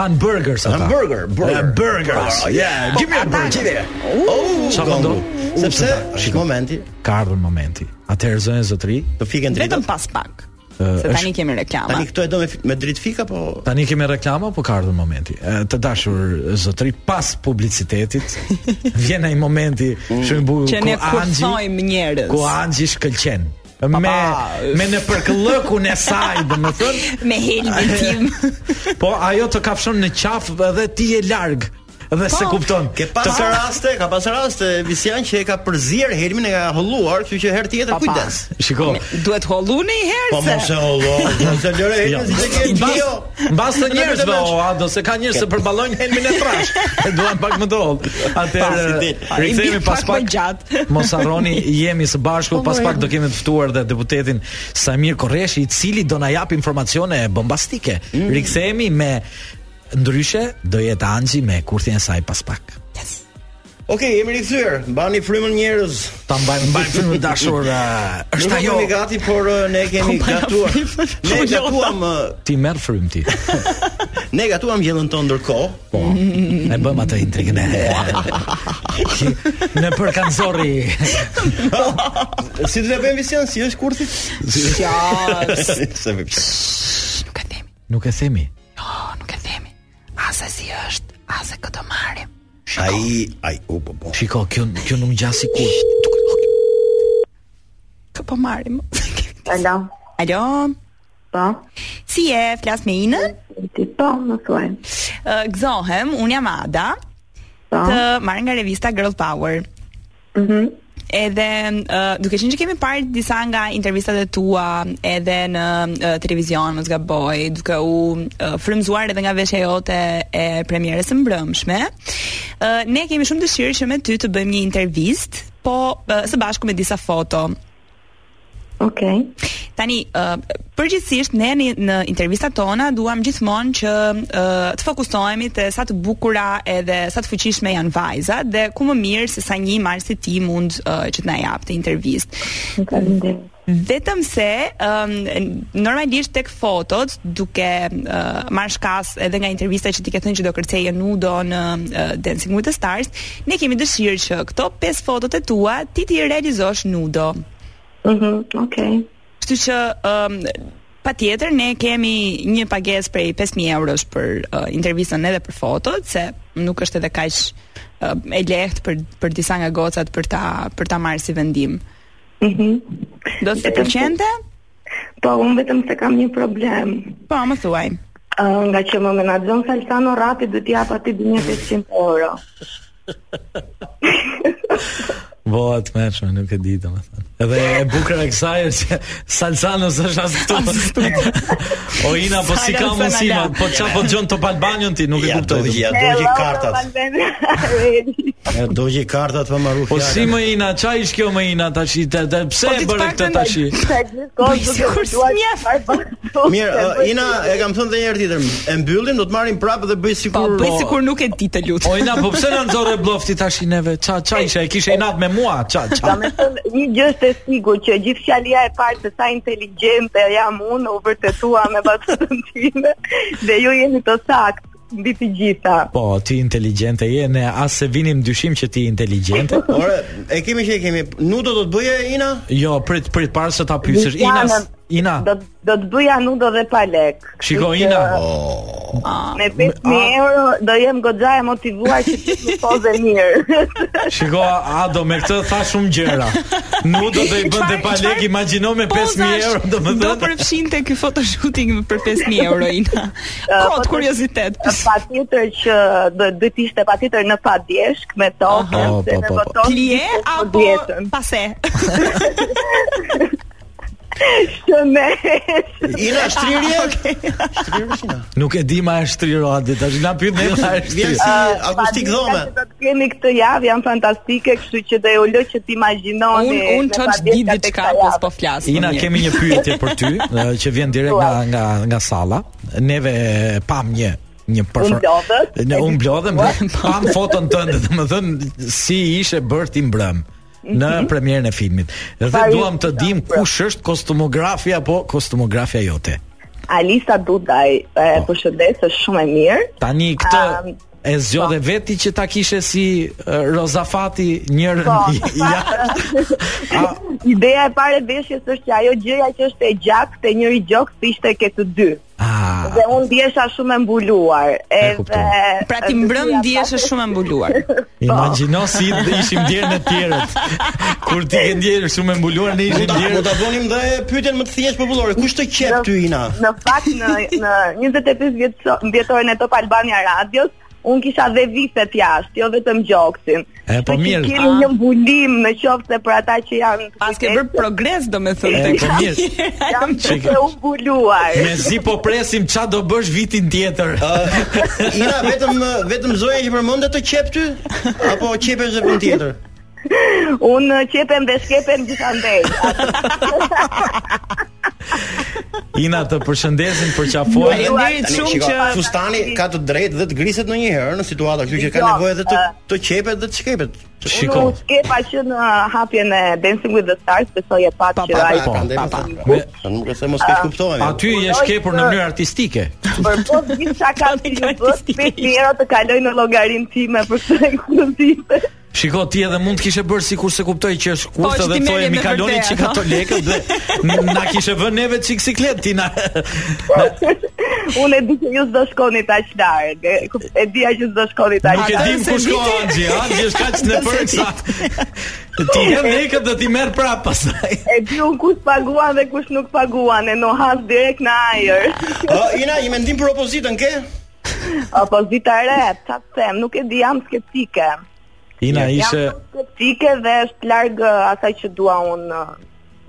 Han burgers ata.
hamburger, burger.
Eh, burgers. Po,
Oh, Yeah, give me a burger. Oh,
Qa
gongu.
mendon? U,
Sepse
të ta-
shik momenti,
Ka ardhur momenti. Atëherë zonja zotri,
do fiken
Vetëm
drita.
pas pak.
Ë,
Se tani
është-
kemi reklama.
Tani këto e do me, me dritë fik apo
tani kemi reklama po ka ardhur momenti. E, Të dashur zotri, pas publicitetit vjen ai momenti shumë i bukur
Që ne
ku Angji-
kërthojmë njerëz.
ku Anxhi shkëlqen. Me me në përkëllëkun e saj, domethënë.
Me helmin tim.
Po ajo të kafshon në qaf edhe ti je larg. Dhe se kupton.
Ke pas
Të-
raste, ka pas raste Visian që e ka përzier helmin e ka holluar, kështu që herë tjetër
Pa, pa.
kujdes.
Shiko.
Duhet holluni një herë
Po mos e hollo, mos e lëre
Jo.
helmin si ke
Mbas,
bio.
mbas të njerëzve o do se ka njerëz që përballojnë helmin e trash. E duan pak më doll.
Pa, si
Atëherë
del.
rikthehemi pas
Pak më
pak.
gjatë.
Mos harroni jemi së bashku, pas pak do kemi të ftuar dhe deputetin Samir Korreshi, i cili do na jap informacione bombastike. Rikthehemi me ndryshe do jetë Anxhi me kurthin e saj pas pak.
Okej, jemi rikthyer. Mbani frymën njerëz.
Ta mbajmë mbajmë frymën dashur. ë, Është ajo.
Nuk jemi gati, por ë, ne kemi gatuar. Ne gatuam ë,
Ti merr frym ti.
ne gatuam gjellën tonë ndërkohë.
Po. Ne bëjmë atë intrigën e. Në për kanzori.
Si do të bëjmë vision, si është kurthi?
Qas.
Se vë pse.
Nuk e themi.
Nuk e themi.
Jo, nuk e themi. Ase si është, ase këtë marrim.
Ai, ai, u po po.
Shiko, kjo kjo nuk ngjas sikur.
Kë po marrim.
Alo,
Alo,
po,
si je? Flas me Inën?
ti po, më thuaj.
Ë, Gëzohem, un jam Ada,
Po,
të marr nga revista Girl Power.
mhm,
Edhe uh, duke qenë që kemi parë disa nga intervistat e tua edhe në uh, televizion, mos gaboj, duke u uh, frymzuar edhe nga veshja jote e premierës së mbrëmshme. Uh, ne kemi shumë dëshirë që me ty të bëjmë një intervistë, po uh, së bashku me disa foto.
okej.
Tani, uh, përgjithsisht ne në, në intervistat tona duam gjithmonë që uh, të fokusohemi te sa të bukura edhe sa të fuqishme janë vajzat dhe ku më mirë se sa një marë si ti mund uh, që të na jap të intervistë.
Nuk ka lindim.
Vetëm se um, normalisht tek fotot duke uh, marr shkas edhe nga intervista që ti ke thënë që do kërceje nudo në uh, Dancing with the Stars, ne kemi dëshirë që këto pesë fotot e tua ti ti realizosh nudo.
Mhm, okej.
Kështu që um, patjetër ne kemi një pagesë prej 5000 eurosh për uh, intervistën edhe për fotot, se nuk është edhe kaq uh, e lehtë për për disa nga gocat për ta për ta marrë si vendim.
Mhm.
Do të të pëlqente?
Po, unë vetëm se kam një problem.
Po, më thuaj.
Ë, nga që më menaxhon Salsano Rapi, do t'i jap atij 2500 euro.
Bëhet mëshme, nuk e di domethënë. Edhe e bukur e kësaj është që Salsanos është as këtu. o Ina, po si ka
Salsanos
mundësi, ma,
Ala.
po çfarë po dëgjon Top Albanion ti, nuk e
Ja
kuptoj.
dogji, ja dogji
Hello,
kartat.
Albania.
Ja dogji kartat pa marrë
Po si më Ina, ç'a ish kjo më Ina tash? Te, te, pse
Po, ti
e bëre këtë
t'paktën-
tash?
Sa gjithkohë
Bëj
duke
sikur
u duaj
s'mjef.
çfarë bën.
Mirë, ë, Ina e kam thënë edhe një herë tjetër, e mbyllim, do të marrim prapë dhe bëj
Po,
sikur
bëj sikur nuk e di të lut.
O Ina, po pse na nxorre blofti tash i neve? Ça ça isha? E kishe Inat me mua? Ça ça?
Ka me thënë një gjë është e sigurt që gjithë fjalia e parë se sa inteligjente jam unë u vërtetua me vazhdimën time dhe ju jeni të saktë mbi të gjitha.
Po, ti inteligjente je, ne as se vinim dyshim që ti inteligjente.
Ore, e kemi që e kemi. Nudo do të bëje Ina?
Jo, prit prit para se ta pyesësh. Ina, s- Ina,
do do të bëja nudo dhe pa lek.
Ah. shiko
Kështu
Ina.
që Me 5000 euro do jem goxha e motivuar që të më poze mirë.
Shiko, a do me këtë tha shumë gjëra. Nuk do të i bën
Çfarë-
te palek,
çfarë
imagjino me
pozash
5000 euro,
Do
domethënë.
përfshinte ky photoshooting për 5000 euro Ina.
po,
Kot kuriozitet.
patjetër që do do të ishte patjetër në padjeshk me tokën
Aha,
se
po,
me
po, po.
boton
Plije apo pase?
shënesh.
Ina shtrirje? Shtrirje Ina.
Nuk e di ma e shtrirë adi, tash na pyet ne ma e
Vjen
shtrirë.
si
Ah,
akustik dhome.
Padiska që Do të kemi këtë javë, janë fantastike, kështu që do ju lë që të imagjinoni.
Un un
dhe
çfarë di
padiska tek
diçka
këta
pas
javë.
po flas.
Ina kemi një pyetje për ty eh, që vjen direkt nga nga nga salla. Neve eh, pam një një
Unë blodhet.
Ne unë blodhem, dhe pam foton tënde, domethënë si ishe bërë ti mbrëm në premierën e filmit. Dhe
Mhm. Pari-
duam të dim kush është kostumografia apo kostumografia jote.
Alisa Dudaj, e
Po.
përshëndes, është shumë e mirë.
Tani këtë
Um,
e zgjodhe veti që ta kishe si uh, Rozafati njërën
Po.
i- i jashtë. A-
Ideja e parë e veshjes është që ajo gjëja që është e gjatë te njëri gjoks të ishte ke të dy.
Ah,
Dhe unë ndjesha shumë e mbuluar. Edhe
kuptoj.
Pra ti mbrëm ndihesh është shumë e mbuluar.
imagjino si ishim djerë në tjerët. Kur ti ke ndjerë shumë e mbuluar, ne
Mund
ishim
ta mund
djerë.
ta bënim dhe pyetjen më të thjeshtë popullore. Kush të qep ty Ina?
Në fakt në në 25 vjeço- vjetorin e Top Albania Radios, un kisha dhe viset jashtë, jo vetëm gjoksin.
E, po
Kështu që
mirë.
Kemi një mbulim në qoftë se për ata që janë
Pas ke bërë progres domethënë
E,
tek.
po mirë.
jam
Çik.
të u mbuluar.
Me zi po presim qa do bësh vitin tjetër.
Ë, Ina vetëm vetëm zoja që përmendet të qep ty apo qepesh edhe punë tjetër?
Unë qepem dhe shkepem gjithandej.
Ina të përshëndesim për
Po,
qafuar.
Faleminderit shumë që fustani ka të drejtë dhe të griset ndonjëherë në situata, kështu që
Jo,
ka nevojë edhe të të qepet dhe të shkepet.
Shiko. Unë skepa që në hapjen e Dancing with the Stars, besoj e pat që ai
po,
pa pa.
Nuk e se mos keq kuptohemi.
Aty
Po,
je shkepur në mënyrë artistike.
Për po gjithë çka ka të bëjë, shpejt mirë të kaloj në llogarinë time për këtë ekskluzive.
Shiko, ti edhe mund të kishe bërë sikur se kuptoj që është
Po,
kusht
që
edhe
ti
thoje
merje me
mi kaloni
vërtet,
çika
no?"
to lekët dhe n- na kishe vënë neve çik siklet ti na.
Unë e di që ju s'do shkoni aq larg. e ku- E dija që s'do shkoni aq
Nuk e
larg.
dim ku shko Angji, Angji është kaq në përk sa ti je lekët do ti merr prap pastaj.
E di unë kush paguan dhe kush nuk paguan, e no has direkt në ajër.
Ë, Ina, një mendim për opozitën ke?
Opozita e re, çfarë të them, nuk e di, jam skeptike.
Ina ishe
Jam skeptike dhe është larg ë, asaj që dua unë ë,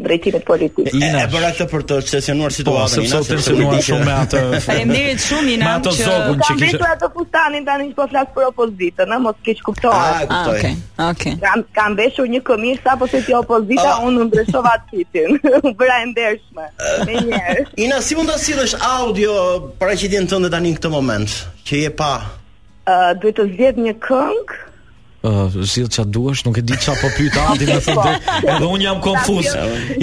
drejtimit politik.
Ina e bëra këtë për të sesionuar situatën.
Po, sepse
Ina,
u tensionuar
nuk di që-
shumë me atë-
Faleminderit shumë Ina
Me ato
që
zogun që
Kam mbetur atë fustanin tani që po flas për opozitën, ë, mos keq kuptohet.
Ah, kuptoj. Ah, okay,
okay.
Kam kam veshur një këmishë sapo se ti opozita, unë ndryshova titin. U bëra e ndershme. Me njerë.
Ina, si mund ta sillesh audio paraqitjen tënde tani në këtë moment, që je pa
Ë, Eh, duhet të zgjedh një këngë.
Uh, zgjidh çfarë duesh, nuk e di çfarë po pyet Adi, më thënë drejt. Edhe un jam konfuz.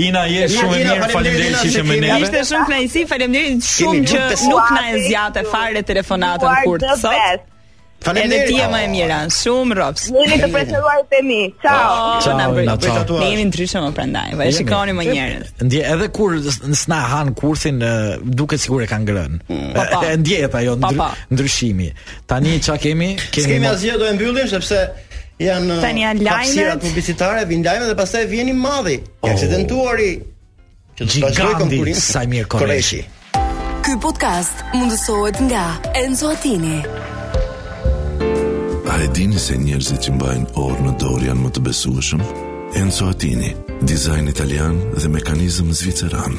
Ina je shumë e mirë, faleminderit që ishe me
Ishte
neve.
shumë kënaqësi, faleminderit shumë
Kemi
që
lutë të
nuk
suar,
na e zgjate fare telefonatën
You are
kur
the
sot.
best.
Edhe
Faleminderit.
ti je më e mira, shumë rops.
Jeni të preferuarit e mi. Ciao.
Ciao, na bëri.
Ina, ciao.
Ne jemi ndryshe më prandaj, vaj
Jemi.
shikoni më njerëz.
Ndje edhe kur s- s'na han kurthin eh, duket sikur e kanë ngrënë.
Pa, pa.
E ndjehet ajo ndry,
Pa, pa.
ndryshimi. Tani ç'a kemi?
S'kemi
mo-
asgjë do e mbyllim sepse janë
Tani janë
hapësirat
lajmet.
publicitare, vin lajmet dhe pastaj vjen i madhi, i aksidentuari që do të vazhdoj
Giganti
konkurim.
Sajmir Koreshi.
Ky podcast mundësohet nga Enzo Attini.
A e dini se njerëzit që mbajnë orë në dorë janë më të besueshëm? Enzo Attini, dizajn italian dhe mekanizëm zviceran.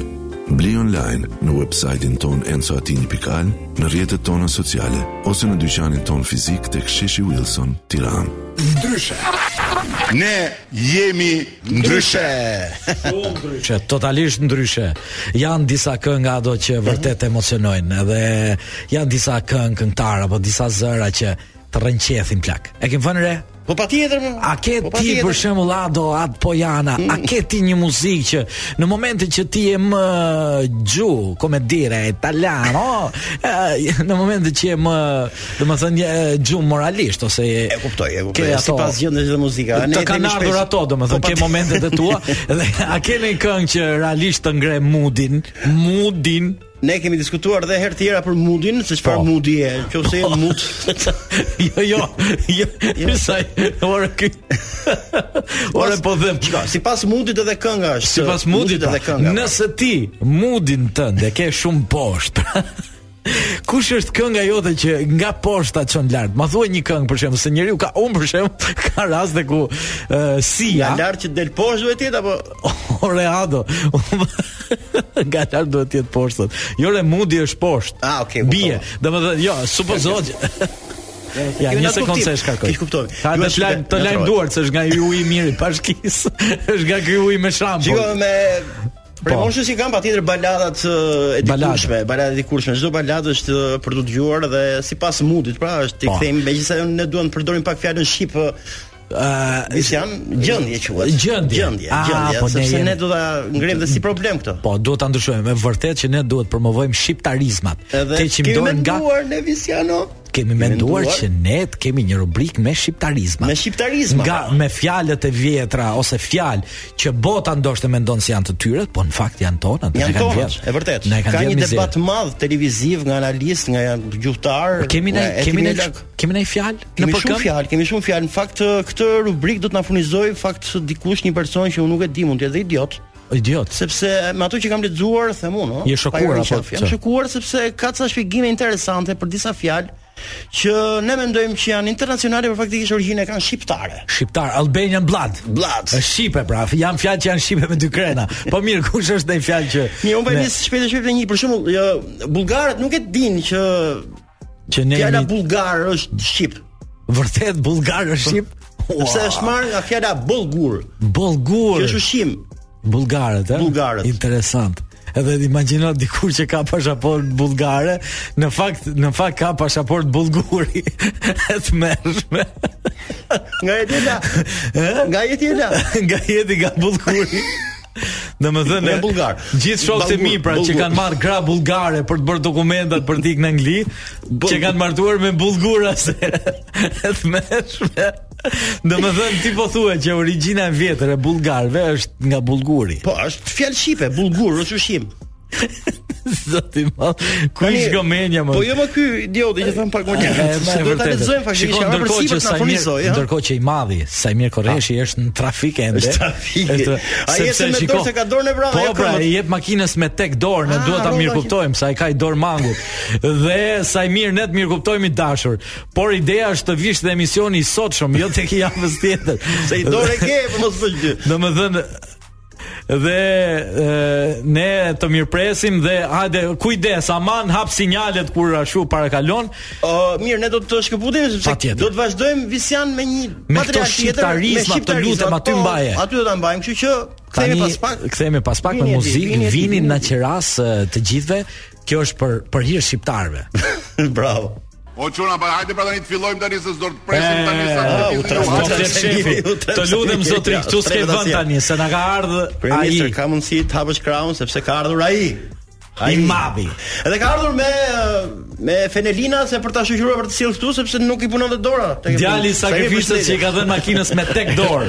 Bli online në websajtin ton enzoatini.al, në rrjetet tona sociale ose në dyqanin ton fizik tek Sheshi Wilson, Tiranë.
Ndryshe. Ne jemi ndryshe.
Që totalisht ndryshe. Janë disa kënga ato që
Mhm.
vërtet emocionojnë edhe janë disa këngë këngëtar apo disa zëra që të rënqethin plak. E kem vënë re?
Po patjetër. mo.
A ke
Po
ti
patjetër. Mhm.
për shembull Ado Ad Pojana, a ke ti një muzikë që në momentin që ti je më gju, come dire, italiano, eh, në momentin që je më, domethënë je gju moralisht ose je E
kuptoj, e kuptoj. Sipas gjendjes dhe muzika, ne
Të
i
kanë
themi
ardhur
shpesh.
ato, domethënë
Po,
ke
patjetër.
momentet e tua dhe a ke një këngë që realisht të ngre moodin, moodin
Ne kemi diskutuar edhe herë tjera për moodin, se çfarë
Po.
moodi e, nëse je mood.
jo, jo, jo, sa ora ky. Ora po them,
Shiko, sipas moodit edhe kënga është.
Sipas mundit pra,
edhe kënga. po.
Nëse ti mundin tënd e ke shumë poshtë. Kush është kënga jote që nga poshta çon lart? Ma thuaj një këngë për shemb, se njeriu ka un për shemb, ka raste ku uh,
Nga
Sia
lart që del poshtë duhet jetë apo
Oreado. Nga lart duhet të jetë poshtë. Jo re mundi është poshtë.
Ah, okay.
Bie. Domethënë, jo, supozoj. Ja,
Kemi
një
atë
sekondë
kuptim.
se është karkoj.
Kish kuptoj.
Ha
Ju
të
është-
lajm, të
na
lajm
troj.
duart se është nga ju i mirë i bashkisë. është nga ky uji me
Shiko
shampull.
me
Po.
Për moshën si kanë patjetër baladat ë, e
Balada.
dikurshme, baladat e dikurshme. Çdo baladë është ë, për të dëgjuar dhe sipas moodit, pra është i
Po.
kthejmë megjithëse ne duam të përdorim pak fjalën shqip.
Ë,
si janë gjendje quhet.
Gjendje.
Gjendje,
Ah,
gjendje,
po ne
sepse
jemi-
ne do ta ngrem dhe si problem këtë.
Po, duhet ta ndryshojmë. Me vërtet që ne duhet promovojmë shqiptarizmat.
Edhe
Te që
kemi
mdojnë nga
menduar ne Visiano
kemi menduar që ne të kemi një rubrik me shqiptarizma.
me shqiptarizma.
Nga me fjalët e vjetra ose fjalë që bota ndoshta mendon se janë të tyre, po në fakt janë tona. ne
Janë
kanë
tonë,
vjedhë.
e vërtet.
Ne kanë
Ka
vjedhë
një
mizerë.
debat madh televiziv nga analist, nga janë gjuhtar.
Kemi ne
nga- e
kemi ne
lak-
kemi ne fjalë në
Kemi shumë
përkëmb.
fjalë, kemi shumë fjalë. Në fakt ë, këtë rubrik do të na furnizoj fakt dikush një person që unë nuk e di, mund të jetë dhe idiot,
Idiot.
sepse me ato që kam lexuar them unë, ë,
Je shokuar
pa ironisht
apo
qafë,
ç'e?
Jam shokuar sepse ka ca shpjegime interesante për disa fjalë që ne mendojmë që janë internacionale, por faktikisht origjina e kanë shqiptare.
Shqiptar, Albanian blood.
Blood.
Është Shqipe pra, janë fjalë që janë shqipe me dy krena. Po mirë, kush është ndaj fjalë që
Mirë, unë po e
ne-
nis shpejt e shpejt e një, për shembull, ë, bullgarët nuk e dinë që
që ne
fjala
jemi
bullgar është shqip.
vërtet bullgar është shqip?
Sepse është marrë nga fjala bullgur,
Bullgur.
që është ushqim.
Bullgarët, ë?
Bullgarët.
eh? Interesant. Edhe imagjino dikur që ka pasaport bullgare, në fakt në fakt ka pasaport bullguri. E të mërshme.
Nga jeti la. Nga jeti la.
Nga jeti nga bullguri. Në më thënë
Nga bullgar.
Gjithë shokët e mi pra
Bullgur.
që kanë marrë gra bullgare për të bërë dokumentat për t'ik në Angli, që kanë martuar me bullgura se e të mërshme. Në më thënë ti po thua që origjina e vjetër e bullgarëve është nga bullguri.
Po, është fjalë shqipe, bullgur, është ushqim.
Zoti më. Ku
Tani,
ish gomenja më?
Po jo më ky idioti që thon pak më
E,
njëherë.
e, e
Se do ta
Po, vërtetë.
lexojmë faktikisht,
Shikon,
ja për
ndërkohë që
sipër na
Sajmir-
furnizoi, ja.
Ndërkohë që i madhi Sajmir Koreshi është në trafik ende.
Është trafik. Ai ecën me dorë
shiko,
se ka dorën e vrarë,
Po
ajo
pra,
këmbët. Ah,
i jep makinës me tek dorë, ne duhet ta
rroba
mirë kuptojmë sa ai ka i dorë mangut. Dhe Sajmir ne të mirë kuptojmë i dashur, por ideja është të vish dhe emisioni i sotshëm, jo tek i javës tjetër.
Se i dorë e ke, po mos bëj gjë.
Domethënë dhe e, ne të mirëpresim dhe hajde kujdes aman hap sinjalet kur ashtu parakalon
Ë, mirë, ne do të shkëputim sepse
Patjetër.
do të vazhdojmë Visian me një
Me
material
këto shqiptarizma,
me
të lutem,
shqiptarizma,
aty
po,
mbaje.
Aty do ta mbajmë, kështu që kthehemi pas pak.
Kthehemi pas pak me
Vini e di,
muzikë,
vini e di,
vini
vini e
na
di.
qeras e, të gjithëve. Kjo është për për hir shqiptarëve.
Bravo.
O çuna, pa hajde pra tani të fillojmë tani se s'do të presim tani sa.
Eh,
E,
të
Ah,
u
vinë
transform-
luajtë.
Flet shefi, të lutem zotri, këtu s'ke vend tani, se na ka ardhur
Ministër
ai.
ka mundësi të hapësh krahun sepse ka ardhur ai.
I madhi.
Edhe ka ardhur me ë, me Fenelina se për ta shoqëruar për të sjellë këtu sepse nuk i punonte dora. Te-
Djali i
Sa i
sakrificës që i ka dhënë makinës me tek dorë.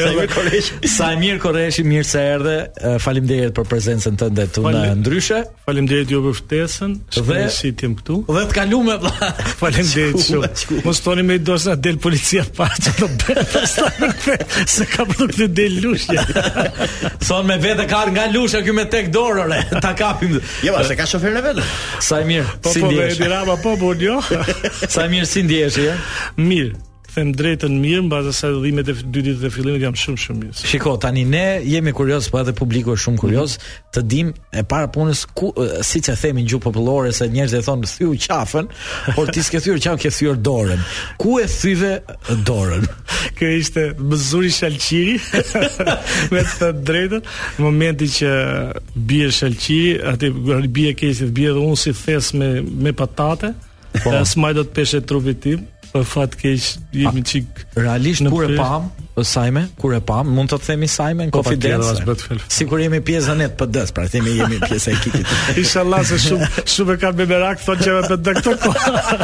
Sajmir Koreshi.
Sajmir Koreshi, mirë se erdhe. E, Faleminderit për prezencën tënde këtu në
Falem-
ndryshe.
Faleminderit ju për ftesën. Dhe si ti jam këtu.
Dhe të kaluam vlla.
Faleminderit shumë. Mos toni me dorë na del policia pa që do bëhet pastaj se ka për të del lushja.
Son me vete ka ardhur nga lusha ky me tek dorë ore. Ta kapim.
Jo, ba, se ka shoferin e vet.
Sajmir,
Po
si
po me
ndjesh?
Edi Rama po po jo.
Sajmir, si ndjesh je?
Mirë. Them drejtën mirë, mbas asaj udhimet e f- dy ditëve të fillimit jam shumë shumë mirë.
Shiko, tani ne jemi kurioz, po edhe publiku është shumë kurioz,
Mhm.
të dim e para punës ku e, siç e themi në gjuhë popullore se njerëzit e thonë thyu qafën, por ti s'ke thyer qafën, ke thyer dorën. Ku e thyve dorën?
Kjo ishte Mëzuri Shalqiri me të drejtën. Në momentin që bie Shalqiri, aty bie keqit, bie dhe unë si thes me me patate. Po. Asmaj do të peshe trupit tim. Për fat keq jemi çik
Realisht
Në
kur e
pyr-
pam, Sajme, kur e pam, mund të themi Sajme në
Po, patjetër,
konfidencë.
as bëhet fel.
Sikur jemi pjesa ne të PD-s, pra themi jemi pjesa e ekipit.
Inshallah se shumë shumë e kanë me merak thonë që me PD këto kohë.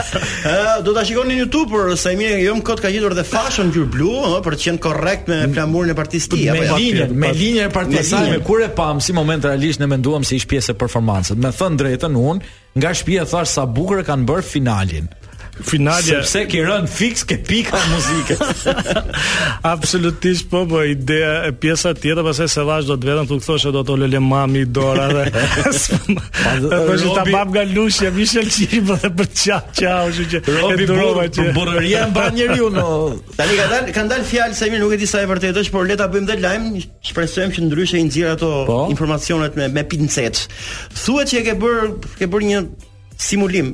Ë, do ta shikoni në YouTube por Sajmir jo më kot ka gjetur dhe fashën ngjyrë blu, ë, për të qenë korrekt me flamurën e partisë tij
Mm. me
apo jo?
linjën, me linjën e
Me
partisë Sajme,
linjën.
kur e pam si moment realisht ne menduam se ish pjesë e performancës. Me thënë drejtën unë, nga shtëpia thash sa bukur e kanë bërë finalin.
Finalja
Sepse ke rënë fiks ke pika muzike.
Absolutisht po, po ideja e pjesa tjetër pastaj se vash do të vetëm tu thoshë do të olele mami dora dhe. Po që ta
Robi-
bab nga lushja, Michel Çiri po dhe për çau çau, kështu që
Robi
e durova
Burr, për burrëria mban njeriu në
Tani ka dal kanë dal fjalë Sajmir nuk e di sa e vërtetë është, por le ta bëjmë dhe lajm, shpresojmë që ndryshe i nxjerr ato
Po.
informacionet me me pincet. Thuhet që e ke bër ke bër një simulim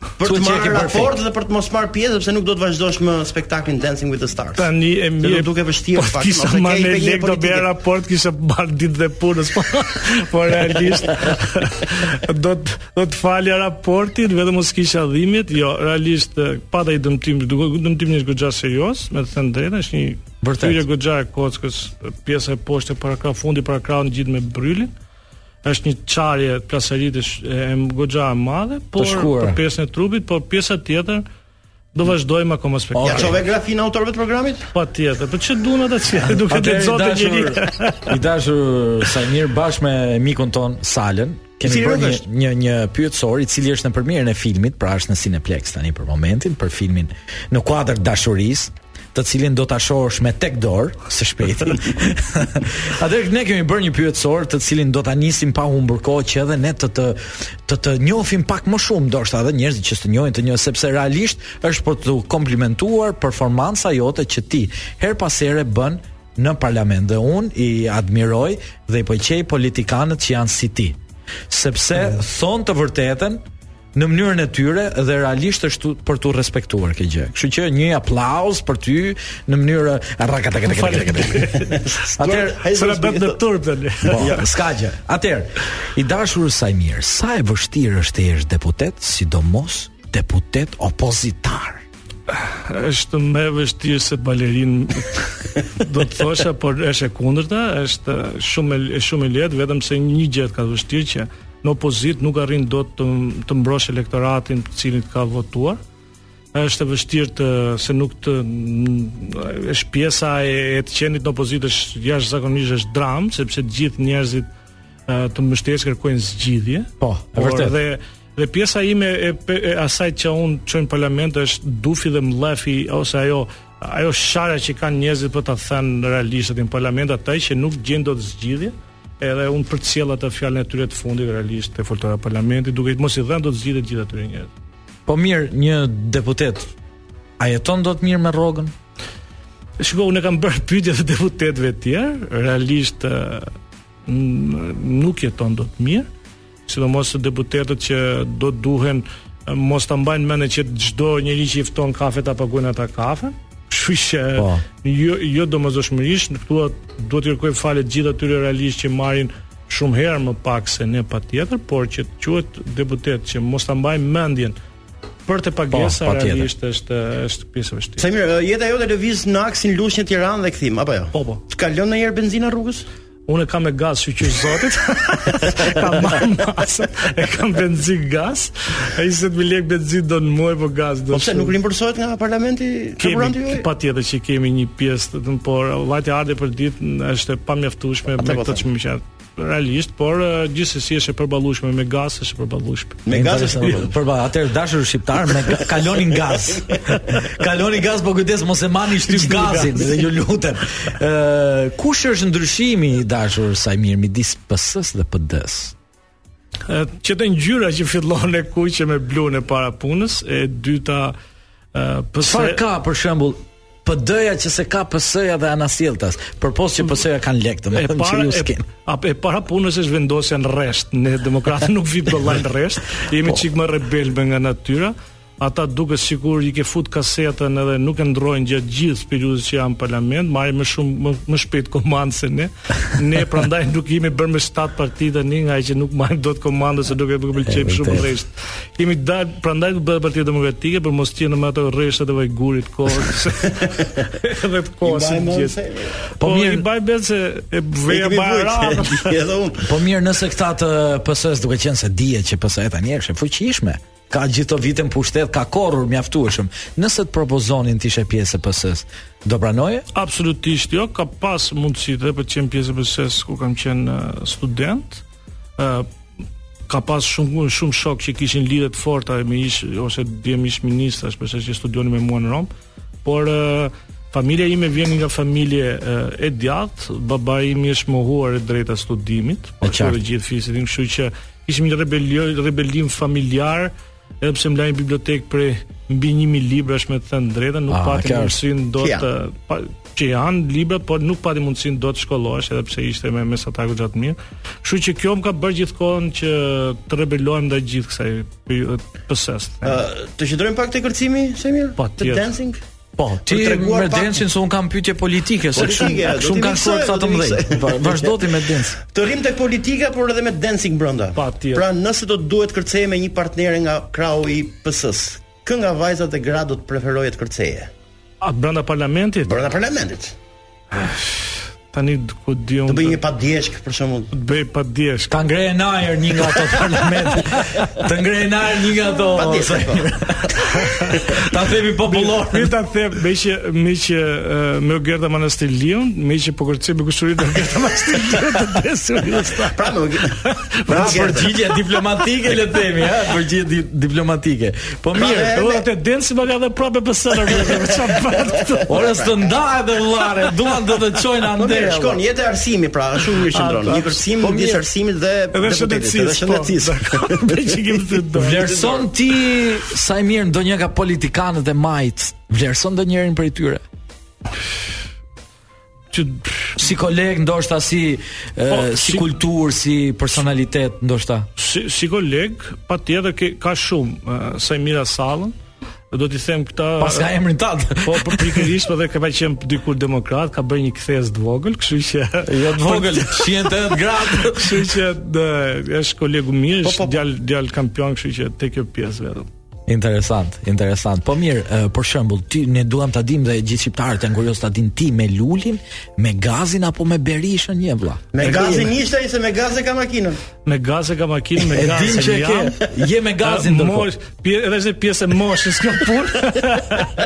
për të
Thuhet që e ke bërë
marrë raport dhe për të mos marrë pjesë sepse nuk do të vazhdosh më spektaklin Dancing with the Stars.
Tani
Dhe
e mirë.
do duke vështirë
po,
pak,
Kisha
ose ke
ma
i
me
penje
lek do bëja
politike.
raport, kisha marr ditë dhe punës, po po realisht do të do të falja raportin, vetëm mos kisha dhimbjet. Jo, realisht eh, pata i dëmtim, duke- dëmtimi është goxha serioz, me të thënë drejtën, është një
Vërtet.
thyrje goxha e kockës, pjesa e poshtë para krah fundi para krahun gjithë me brylin është një çarje plasaritësh e goxha e madhe, por
shkuar.
për pjesën e trupit, por pjesa tjetër do vazhdojmë akoma spektaklin.
Ja çove grafinë autorëve të programit?
Pa tjetër, për Po që duna të qëtë, duke të
Atëherë,
zotë
i
njëri.
dashur- I dashur Sajmir bashkë me mikun ton Salën kemi
Cili
bërë
rrugë
një,
është?
një një pyetësor i cili është në përmirën e filmit, pra është në Cineplex tani për momentin, për filmin në kuadër dashurisë, të cilin do ta shohësh me tek dorë së shpejti. Atëherë ne kemi bërë një pyetësor të cilin do ta nisim pa humbur kohë që edhe ne të të të, të njohim pak më shumë, ndoshta edhe njerëzit që të njohin të njohin sepse realisht është për të komplimentuar performanca jote që ti her pas here bën në parlament dhe unë i admiroj dhe i pëlqej politikanët që janë si ti sepse thonë të vërtetën në mënyrën e tyre dhe realisht është tu- për tu respektuar këtë gjë. Kështu që një aplauz për ty në mënyrë Atëherë
s'na bëhet në turp tani.
Po, s'ka gjë. Atëherë, i dashur Sajmir, sa e vështirë është të jesh deputet, sidomos deputet opozitar.
është më e vështirë se balerin do të thosha, por është e kundërta, është shumë e- e shumë e lehtë, vetëm se një gjë ka të vështirë që në opozit nuk arrin dot të të mbrosh elektoratin të cilin ka votuar. Është e vështirë të se nuk të mm, është pjesa e, e të qenit në opozitë është jashtëzakonisht është dramë, sepse të gjithë njerëzit ë, të mbështesë kërkojnë zgjidhje. Po,
e vërtet.
Dhe dhe pjesa ime e, pe- e asaj që unë çoj në parlament është dufi dhe mllafi ose ajo ajo sharja që kanë njerëzit për ta thënë realisht aty në parlament atë që nuk gjen dot zgjidhje edhe unë përcjell atë fjalën e tyre të fundit realisht te foltora e parlamentit duke mos i dhënë dot zgjidhje të gjithë atyre njerëzve.
Po mirë, një deputet a jeton dot mirë me rrogën?
Shiko, unë e kam bërë pyetje të deputetëve të tjerë, realisht ë, n- nuk jeton dot mirë, sidomos deputetët që do duhen ë, mos ta mbajnë mend që çdo njeri që i fton kafe ta paguajnë ata kafe. Kështu që jo jo domosdoshmërisht duhet duhet të kërkoj falë të gjithë atyre realisht që marrin shumë herë më pak se ne patjetër, por që të quhet deputet që mos ta mbajnë mendjen për të pagesa
patjetër.
realisht është është pjesë e vështirë.
Sa mirë, ë, jeta jote lëviz në aksin Lushnjë Tiranë dhe kthim, apo jo?
Po, po.
Ka lënë ndonjëherë benzina rrugës?
Unë e kam me gaz shqyqysh zotit Kam marrë masë E kam benzin gaz E 20.000 lek benzin do në muaj Po gaz do
Po pse
shumë.
nuk rimbursohet nga parlamenti karburanti
Kemi
juaj?
pa tjetër që kemi një pjesë të të por vllajti ardhe për ditë është e pamjaftueshme me
Atë po
këtë
them.
çmim që realisht, por eh, gjithsesi është e përballueshme me gaz, është e përballueshme.
Me gaz është e përballueshme.
Për atëherë dashur shqiptar me ga- kalonin gaz. kalonin gaz po kujdes mos e mani shtyp gazin dhe ju lutem. Ë kush është ndryshimi i dashur Sajmir midis PS-s dhe PD-s?
E, që të ngjyra që fillon e kuqe me bluën e para punës, e dyta ë
Çfarë ka për shembull PD-ja që se ka PS-ja dhe anasjelltas, përpos që PS-ja kanë lek,
E
domethënë që
para
ju
e,
s'ken.
a, e para punës është vendosja në rresht. Ne demokratë nuk vit bollaj në rresht.
Po.
Jemi çik më rebelbe nga natyra. Ata duket sikur i ke fut kasetën edhe nuk e ndrojnë gjatë gjithë periudhës që janë në parlament, marrin më shumë më, më shpejt komandë se ne. Ne prandaj nuk jemi bërë me 7 parti tani nga ai që nuk marrim dot komandë se duke nuk pëlqej
E,
shumë
vërtet.
rresht. Kemi dal prandaj të bëhet Partia Demokratike për mos qenë me ato rreshtat e vajgurit kohës. edhe të
I
kohës. së
mbajmë
gjithë.
Po
Po
mirë.
mirë, i baj bet se e veja
kemi
bara.
vujt, edhe unë.
Po mirë, nëse këta të PS-s duke qenë se dihet që PS-ja tani është e fuqishme, ka gjithë të vitën pushtet, ka korrur mjaftueshëm. Nëse të propozonin të ishe pjesë e PS-s, do pranoje?
Absolutisht jo, ka pas mundësi dhe për të qenë pjesë e BSS ku kam qenë eh, student. ë ka pas shumë shumë shok që kishin lidhje të forta me ish ose djem ish ministrash, përse që studionin me mua në Rom, por ë, familja ime vjen nga familje ë, e djathtë, baba im është mohuar e drejta studimit,
E
por
qartë.
të gjithë fisit im, kështu që kishim një rebelion, rebelim familjar, edhe pse mlaj në bibliotekë prej mbi 1000 librash me të thënë drejtën, nuk
Ah,
pati
kjo është.
mundësinë do
Kjo
të pa, që janë libra, por nuk pati mundësinë do të shkollohesh edhe pse ishte me mesataku gjatë mirë. Kështu që kjo më ka bërë gjithkohon që të rebelohem ndaj gjithë kësaj periudhe PS-s.
Ë, të qëndrojmë pak te kërcimi, Semir? Po, te
tjetër.
dancing?
Po, ti
Për treguar
me
pak-
Densin se un kam pyetje politike, se
Politike,
shumë
do
shumë
t'i
kanë shkuar
miksoj,
këta
do
të
t'i
mëdhenj.
miksoj.
Po, Vazhdo ti me Dens.
Të rrim tek politika, por edhe me dancing brenda.
Patjetër.
Pra, nëse do të duhet kërceje me një partnere nga krau i PS-s, kë nga vajzat e gra do të preferoje të kërceje?
A brenda parlamentit?
Brenda parlamentit.
Tani d- ku di unë.
Të bëj një padjeshk për shembull.
të bëj pa diesh.
Ta ngrejë në ajër një nga ato parlament. Të ngrejë në ajër një nga ato.
Padjeshk. po.
Ta themi popullor.
Mi ta them, me që me që eh, me Gerda Manastilion, me që po kërcej me kushurinë e Gerda Manastilion të desurisë.
Pra, nuk.
Pra përgjigje diplomatike le të themi, ha, përgjigje di- diplomatike. Po mirë,
Pra,
Ora te Densi më ka dhe prapë PS-n. Çfarë bën këtu?
Orës të ndahet dhe vllare, duan do të çojnë
Po
ande.
mirë, shkon jetë e arsimi pra, është shumë mirë qëndron.
A,
Një kërcim
po
midis
mirë.
arsimit dhe
Edhe po,
deputetit,
shëndetësisë.
Edhe shëndetësisë.
Me që kemi të do.
Vlerëson ti sa i mirë ndonjë nga politikanët e majt? Vlerëson ndonjërin prej tyre?
që
si koleg ndoshta si e,
Po,
si
si-
kulturë, si personalitet ndoshta.
si, si koleg, pa tjetër ke, ka shumë, uh, sa i mira sallën, do t'i them këta...
Pas ka emrin tat.
Po, për pikërisht, po dhe ka pa qenë dikur demokrat, ka bërë një kthes të vogël, kështu që...
Jo të vogël, 180 gradë.
kështu që dë, është kolegu mirë,
Po,
është djalë djalë kampion, kështu që te kjo pjesë vetëm.
Interesant, interesant. Po mirë, e, për shembull, ti ne duam ta dimë dhe gjithë shqiptarët janë kurioz ta dinë ti me lulin, me gazin apo me berishën një vlla.
Me gazin ishte ai se me gazin ka makinën.
Me gaze ka makinë, me
E
gaze
din që
jam.
ke, je me gazin
Ë,
ndërkohë.
mosh, pje, edhe është pjesë e moshës kjo punë.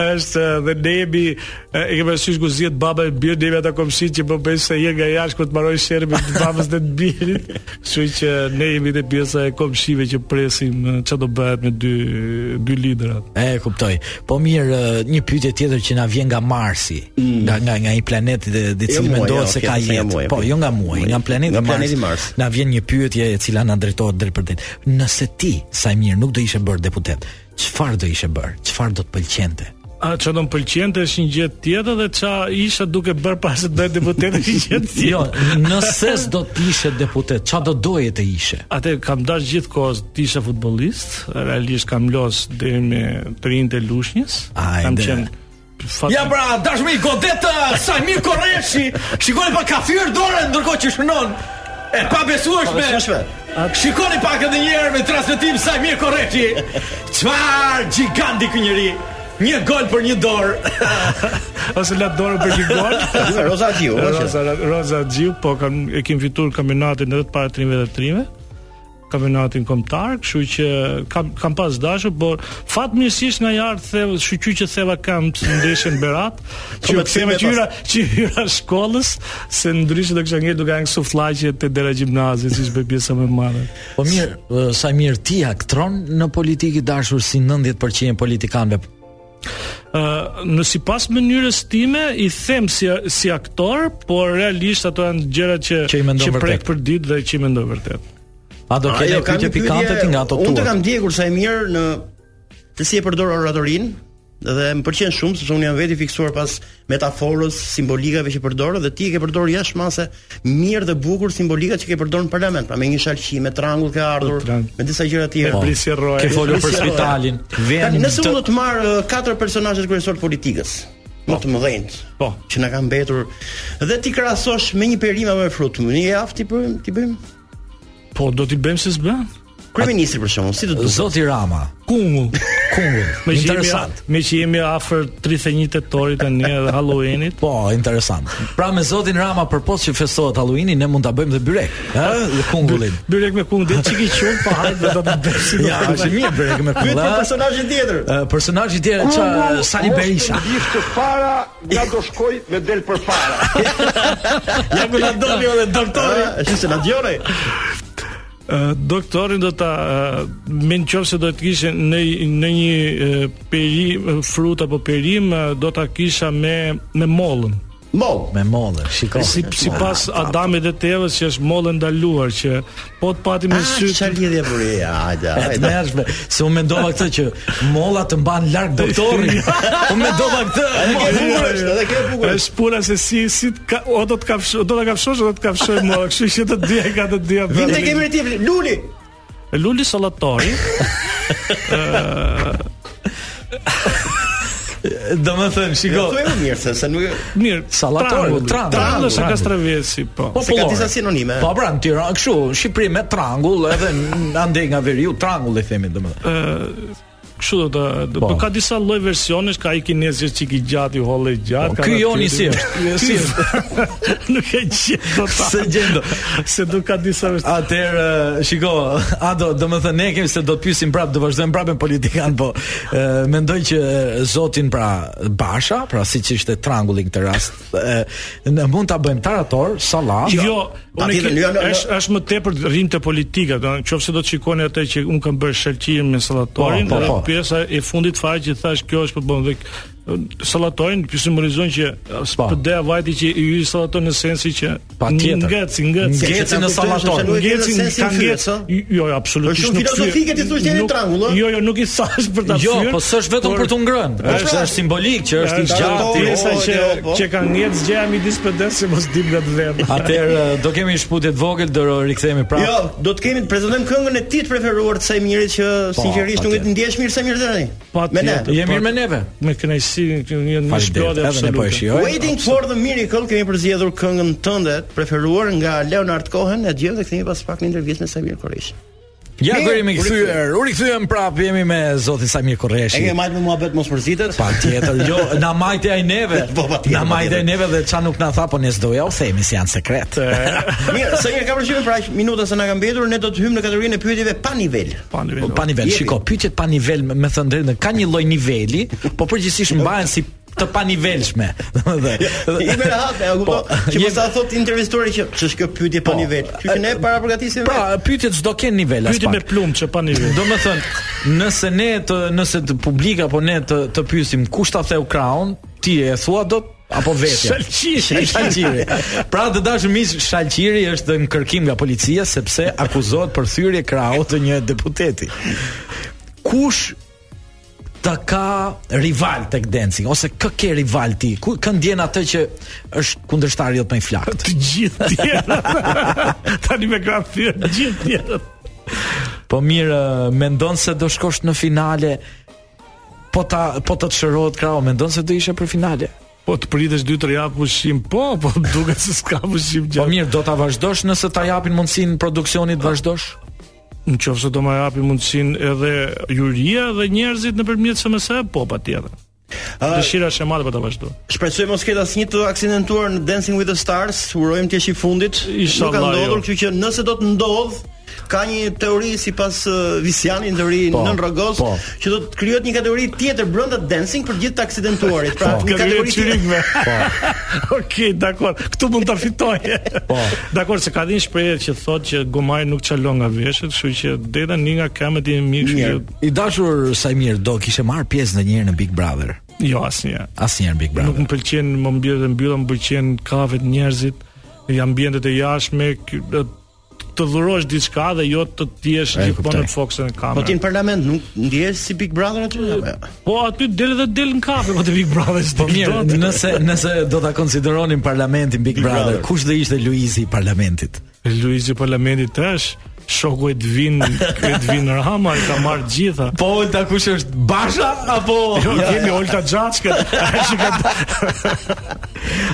është ë, dhe ne jemi ë, e kemi parasysh guziet baba e bir, ne jemi ata komshit që po bëjnë se je nga jashtë ku të mbaroj sherbin të babës dhe të birit. Kështu që ne jemi dhe pjesa e komshive që presim ë, ç'a do bëhet me dy dy liderat.
E kuptoj. Po mirë, e, një pyetje tjetër që na vjen nga Marsi, nga nga nga i planeti dhe dhe
Mm. Jo
cili
muaj,
mendohet
jo,
se
okay,
ka
se nga
jetë.
muaji,
po,
po.
jo nga muaji, nga planeti
Nga
Mars.
planeti Mars.
Na vjen një pyetje e cila na drejtohet drejt për drejt. Nëse ti, Sajmir, nuk do ishe bërë deputet, çfarë do ishe bërë? Çfarë do të pëlqente?
A çfarë do më pëlqente është një gjë tjetër dhe ç'a isha duke bërë para se të bëhet deputet është një gjë tjetër.
Jo, nëse s'do të ishe deputet, çfarë do doje të ishe?
Atë kam dash gjithkohës të isha futbollist, realisht kam los deri me të rinjtë e Lushnjës.
Ajde.
Kam qenë fat...
Ja pra, dashmi, godet uh, Sajmir Korreshi. Shikoni pa ka fyr dorën ndërkohë që shënon. E pa besueshme. Shikoni pak edhe një herë me transmetim Sajmir Korreshi. Çfarë giganti ky njeri. Një gol për një dorë.
ose la dorën për një gol.
Roza Gjiu, është.
Roza Roza Gjiu, po kam e kim fituar kampionatin edhe të para trimëve dhe trimëve kampionatin kombëtar, kështu që kam kam pas dashur, por fatmirësisht nga jart the shqyqy që theva kam të ndeshën Berat, që
me
u ktheva
kthime
që hyra që hyra shkollës, se ndryshe do kisha ngel duke hangë sufllaqe te dera gjimnazit, siç bëj pjesa më e madhe.
Po mirë, eh, Sajmir ti aktron në politikë i dashur si 90% e politikanëve.
Ë, në sipas mënyrës time i them si si aktor, por realisht ato janë gjëra që
Që i mendon vërtet.
prek për ditë dhe që i mendoj vërtet.
A do
Ajo,
kene
kam
pyetje
jo, një
pikante ti nga ato
Unë të
tuat?
kam djegur sa e mirë në të si e përdor oratorinë dhe më pëlqen shumë sepse unë jam veti fiksuar pas metaforës, simbolikave që përdor dhe ti e ke përdor jashmase mirë dhe bukur simbolikat që ke përdorur në parlament, pra me një shalqi, me trangull ke ardhur,
Trang.
me disa gjëra të tjera.
Po. Brisi Rroja.
Ke folur për
Brisi Rroja.
spitalin.
Tani,
Vjen
nëse unë do
të
të marr uh, katër personazhe kryesor të politikës, më të mëdhenj,
Po.
që na kanë mbetur dhe ti krahasosh me një perime me frutë, një javë ti bëjmë, ti bëjmë
Po do t'i bëjmë si s'bën?
kryeministri për shkakun, si do të duket?
Zoti Rama,
Kungu.
kungu.
Me që jemi,
Interesant.
me që jemi afër 31 tetorit tani edhe Halloweenit.
Po, interesant. Pra me Zotin Rama përpos që festohet Halloweeni, ne mund ta bëjmë dhe byrek, ëh, dhe kungullin.
Byrek me kungu, ditë çiki qun, po hajde do të bëjmë si do
Ja,
të
është
bëjmë.
mirë byrek me
Pyet
kungull.
për
ëh.
personazhin tjetër.
Ë, Personazhi tjetër që Sali Berisha.
Gjithë të para, nga do shkoj me del për para.
Ja ku na doli edhe doktori.
Ah, Është se na djone.
Ë, doktorin do ta ë, me në qoftë se do të kishe në në një ë, perim frut apo perim ë, do ta kisha me me mollën.
Mo.
Me mollë, shiko.
Si si pas Adamit dhe Tevës që është mollë ndaluar që po të pati me
Ah,
sy
çfarë lidhje bëri? Hajde,
E të
hajde.
mëshme, se unë mendova këtë që mollat të mban larg doktorin. unë mendova këtë.
Ke bukur është, edhe ke bukur. është.
është puna se si si të ka, o do të kafshoj, do ta kafshosh o do të kafshoj mollë, kështu që të dyja ka të dyja.
Vim tek emri ti Luli.
Luli Sallatori,
Do më thënë, shiko.
Jo, thuaj më mirë se se nuk
mirë,
Sallatori,
Trangulli.
Trangulli.
Trangulli është
Trangulli.
Kastravesi, po.
Po
se ka
pullore.
disa sinonime.
Po pra, në Tiranë kështu, në Shqipëri me trangull, edhe në- andej nga veriu trangull i themi domethënë.
Kështu do ta, do-
Po.
po ka disa lloj versionesh, ka i kinezë që i gjatë, i hollë i gjatë. ka
Po, Ky
nga
joni
tjetri-
si është? Si është?
Nuk e gjet dot.
Se gjendo.
Se do ka disa versionesh.
Atëherë, e, shiko, a do do të thënë ne kemi se do të pyesim prapë, do vazhdojmë prapë me politikan, po e, mendoj që e, zotin pra Basha, pra siç ishte trangulli këtë rast, e, ne mund ta bëjmë tarator, sallat.
Jo, unë
patjetër,
ke-
jo, jo, jo.
është është më tepër rrim te politika, do të nëse do të shikoni atë që un kam bërë shëlqim me sallatorin,
Po, po,
dhe
po.
pjesa e fundit fare që thash kjo është po bën dhe sallatojnë, simbolizojnë që
Po.
PD vajti që i hyj sallaton në sensi që
Patjetër.
ngeci, ngeci,
Ngeci në sallaton.
Ngeci
Nuk e di në sensin
ka
fyrës,
ngeci.
ha?
Jo, jo, absolutisht
Është shumë
nuk
filozofike ti thua që jeni
nuk-
trangull, ha?
Jo, jo, nuk i thash për ta
Jo,
fyer.
po s'është vetëm për t'u ngrënë, po, është- është simbolik që është i gjatë, i
Pjesa
hollë,
që
jo, po.
që ka ngec gjëja midis PD-s se mos dim nga të vetë.
Atëherë do kemi një shputje të vogël, do rikthehemi prapë.
Jo, do të kemi të prezantojmë këngën e ti të preferuar të kësaj mirit që sinqerisht nuk e ndjesh mirë sa mirë tani. Me ne.
Patjetër,
Jemi
pat-
mirë me neve.
Me kënaqësi, një një
Faleminderit,
shplodje
edhe ne po e shijojmë. Waiting for the Miracle kemi përzgjedhur këngën tënde të preferuar nga Leonard Cohen e dje dhe kthehemi pas pak në intervistë me Samir Koreshi.
Ja
Mirë,
do jemi
u
kthyer, u rikthyem prapë jemi me zotin Samir Korreshi.
E ke marrë me muhabet mos mërzitet?
Patjetër, jo, na majte ai neve.
Po, patjetër,
Na majte ai
patjetër.
neve dhe çfarë nuk na tha, po ne s'doja u themi si janë sekret.
Mirë, sa një ka përshime pra aq minuta se na ka mbetur, ne do të hymë në kategorinë e pyetjeve pa nivel.
Pa nivel.
Pa nivel,
Jepi.
shiko, pyetjet pa nivel me me thënë drejtën, ka një lloj niveli, po përgjithsisht mbahen si të panivelshme. Domethënë.
I me rahat, e kupto, që mos ta thot intervistuari që ç'është kjo pyetje pa nivel. Kjo që ne para përgatisim.
Pra, pyetjet s'do kenë nivel as
Pyeti me plumb që pa nivel.
Do më thënë, nëse ne të nëse të publik apo ne të të pyesim kush ta theu kraun, ti e thua do apo vetja.
Shalqiri.
Shalqiri. Pra të dashur miq, Shalqiri është në kërkim nga policia sepse akuzohet për thyrje krau të një deputeti. Kush ta ka rival tek dancing ose kë ke rival ti? Ku kë ndjen atë që është kundërshtari jot më i flakt?
Të gjithë tjerët. Tani me ka thyer të gjithë tjerët.
Po mirë, mendon se do shkosh në finale po ta po të të shërohet krau, mendon se do ishe për finale.
Po të pritesh 2-3 javë pushim, po, po duket se s'ka pushim
Po
gjatë.
mirë, do ta vazhdosh nëse ta japin mundësinë produksionit vazhdosh?
Në qofë se do më japi mundësin edhe juria dhe njerëzit në përmjet SMS, po pa tjetër. Dëshira është e madhe për ta vazhdu.
Shpresoj mos ketë asnjë të aksidentuar në Dancing with the Stars. Urojmë të jesh i fundit. Nuk
Inshallah,
ka ndodhur,
jo.
kështu që nëse do të ndodh, ka një teori sipas uh, Visianit, teori
Po,
nën Rogos,
po.
që do të krijohet një kategori tjetër brenda dancing për gjithë të aksidentuarit. Pra,
Po,
një
kategori
kategori tjetër.
çyrikme. Po. Okej, dakor. Këtu mund ta fitoj. Po. Dakor, se ka dhënë shprehje që thotë që gomari nuk çalon nga veshët, kështu që deta një nga kamet i mirë, kështu që
I dashur Sajmir do kishe marr pjesë ndonjëherë në Big Brother.
jo asnjë.
Asnjëherë në Big
Nuk
Brother.
më pëlqen më mbjellë dhe mbylla, më pëlqen kafet njerëzit, ambientet e jashtme, ky- e, të dhurosh diçka dhe jo të të jesh
E,
gjithmonë
kuptoj.
në
Po
fokusën e
ti
kamerës.
në parlament nuk ndjehesh si Big Brother aty apo? jo?
Po aty del dhe del në kafe, po të Big Brother.
Po mirë, nëse nëse do ta konsideronin parlamentin Big, Brother,
Brother.
kush do ishte Luizi i parlamentit?
Luizi Parlamenti tash, shoku Edvin, Edvin Rama i ka marrë gjitha.
Po Olta kush është Basha apo
Jo, kemi Olta Gjaçka. Ai që ka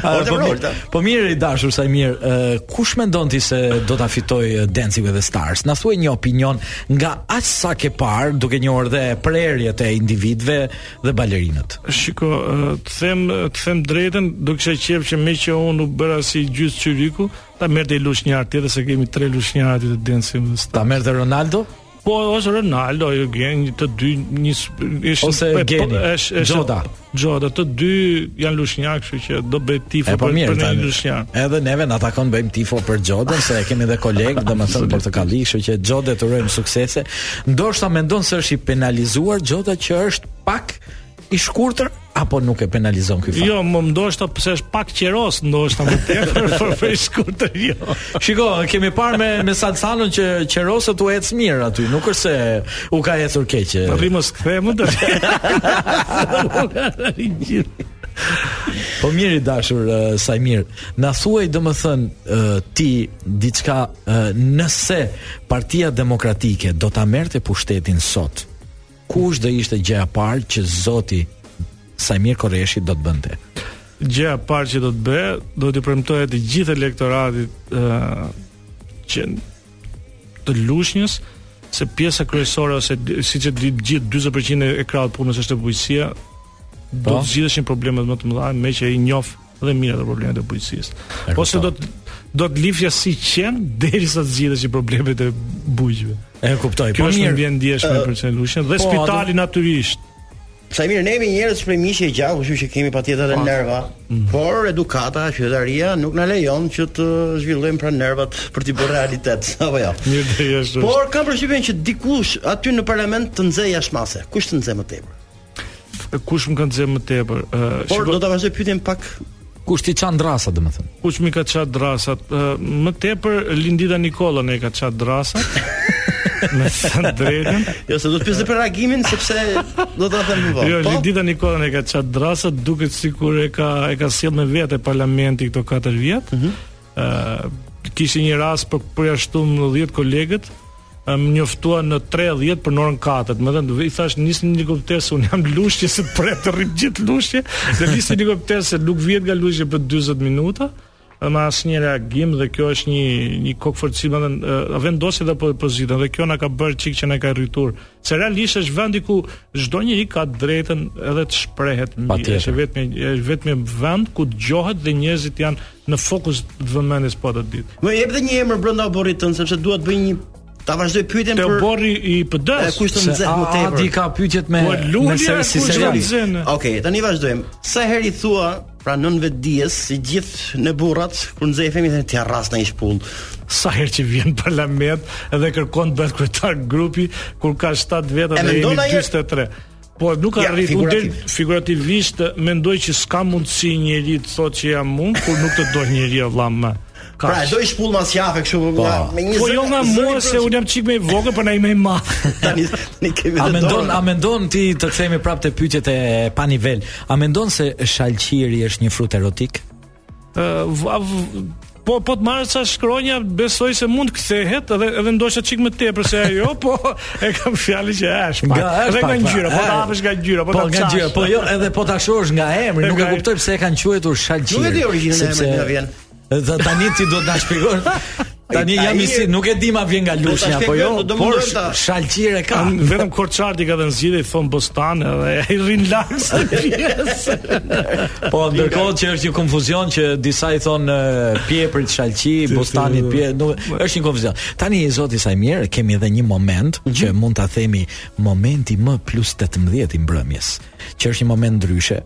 A,
Olta
po,
pra,
mirë,
Olta.
po mirë i dashur Sajmir, ë, kush mendon ti se do ta fitoj ë, Dancing with the Stars? Na thuaj një opinion nga aq sa ke parë, duke njohur dhe prerjet e individëve dhe balerinët.
Shiko, eh, të them, të them drejtën, do kisha qejf që me që unë u bëra si gjys çyriku, ta merrte i lushnjar tjetër se kemi tre lushnjarë aty të dancing me
Ta merrte Ronaldo?
Po ose Ronaldo, jo gen, të dy një sp- ishin
Ose
po,
Geni,
është- është-
Gjoda.
Gjoda, të dy janë lushnjak, kështu që do bëj tifo
E po
për,
mirë,
për një
tani.
lushnjak.
Edhe neve na takon bëjmë tifo për Xhodën se e kemi dhe kolegë, domethënë portokalli, kështu që Xhodë të urojmë suksese. Ndoshta mendon se është i penalizuar Xhoda që është pak i shkurtër apo nuk e penalizon ky fakt?
Jo, më ndoshta pse është pak qeros, ndoshta më tepër për për shkurtër jo.
Shiko, kemi parë me me Salsanon që qerosët u ec mirë aty, nuk është se u ka ecur keq. e.
Rrimos kthemu do. të-
Po mirë i dashur uh, Sajmir, na thuaj domethën uh, ti diçka uh, nëse Partia Demokratike do ta merrte pushtetin sot. Kush do ishte gjëja e parë që zoti Sajmir Korreshi do të bënte?
gjëja e parë që do të bëj, do t'i premtoja të gjithë elektoratit ë që të lushnjës se pjesa kryesore ose di- siç e di gjithë 40% e- e krahut punës është e bujqësia, do
Po.
të zgjidheshin problemet më të mëdha me që i njoh dhe mirë ato problemet e bujqësisë. Ose do të do të lifja si qen derisa të zgjidheshin problemet e bujqëve.
E kuptoj.
Kjo
po
është një
mirë.
vjen ndjeshme për çën lushnjën dhe
po,
spitali natyrisht.
Sa mirë, ne jemi njerëz prej miqë e gjallë, kështu që kemi patjetër
Po.
edhe nerva,
Mm.
por edukata, qytetaria nuk na lejon që të zhvillojmë pra nervat për t'i bërë realitet, apo jo.
Mirë dhe jashtë.
Por kam përshtypjen që dikush aty në parlament të nxejë jashmase. Kush të nxejë më tepër?
kush më kanë xhem më tepër. Uh,
Por do ta vazhdoj pyetjen pak
kush ti çan drasat domethënë.
Kush më ka çat drasat? Uh, më tepër Lindita Nikola ne ka çat drasat. me të drejtën.
Jo, se do të pyesë për reagimin sepse do ta them më vonë. Po,
Jo, Lindita Nikolën e ka çat drasat, duket sikur e ka e ka sjell me vete parlamenti këto 4 vjet. Ëh, mm -hmm. uh, kishte një rast për përjashtum 10 kolegët më njoftua në 30 për në orën 4. Më thënë, i thash nisni një helikopter se unë jam lushje se të pret të rrim gjithë lushje, dhe nisni një helikopter se nuk vjet nga lushje për 40 minuta me asnjë reagim dhe kjo është një një kokforcim edhe vendosi edhe për pozitën dhe kjo na ka bërë çik që na ka rritur. Se realisht është vendi ku çdo njeri ka drejtën edhe të shprehet mirë. Është vetëm është vetëm vend ku dëgohet dhe njerëzit janë në fokus të vëmendjes po atë ditë.
Më jep edhe një emër brenda oborrit tën sepse dua të bëj një Ta vazhdoj pyetjen për
Te borri i PD-s.
Kush të nxeh më tepër?
Adi ka pyetjet me
me si se
Okej, okay, tani vazhdojmë. Sa herë i thua pra nënve dijes, si gjithë në burrat kur nxehemi thënë ti arras në shpull.
Sa herë që vjen në parlament dhe kërkon të bëhet kryetar grupi kur ka 7 veta dhe jemi 43. Po nuk ka ja, arrit u del figurativisht mendoj që s'ka mundësi njëri të thotë që jam unë kur nuk të do njëri vëlla më.
Kash. Pra, do i shpull mas jafe kështu po,
me një. Po jo nga mua se un jam çik më i vogël, por na i më i madh.
Tani ne kemi
A mendon, a mendon ti të kthehemi prapë te pyetjet e pa nivel? A mendon se shalqiri është një frutë erotik?
Ë, po po të marrë sa shkronja, besoj se mund kthehet edhe edhe ndoshta çik më tepër se ajo, po e kam fjalën që është pak. Edhe nga ngjyra, po ta hapësh nga ngjyra, po ta
nga ngjyra, po jo edhe po ta shohësh nga emri, nuk e kuptoj pse e kanë quajtur shalqiri.
Nuk e di origjinën e emrit, na vjen.
Dhe tani ti do të na shpjegosh. Tani jam i si, nuk e di ma vjen nga lushja apo jo, por shalqire ka.
An, vetëm Korçardi ka dhënë zgjidhje thon Bostan edhe ai rrin lart se pjesë.
po ndërkohë që është një konfuzion që disa i thon pjeprit shalqi, Bostanit pje, nuk, është një konfuzion. Tani zoti sa i mirë, kemi edhe një moment
Mhm.
mm -hmm. që mund ta themi momenti më plus 18 i mbrëmjes, që është një moment ndryshe.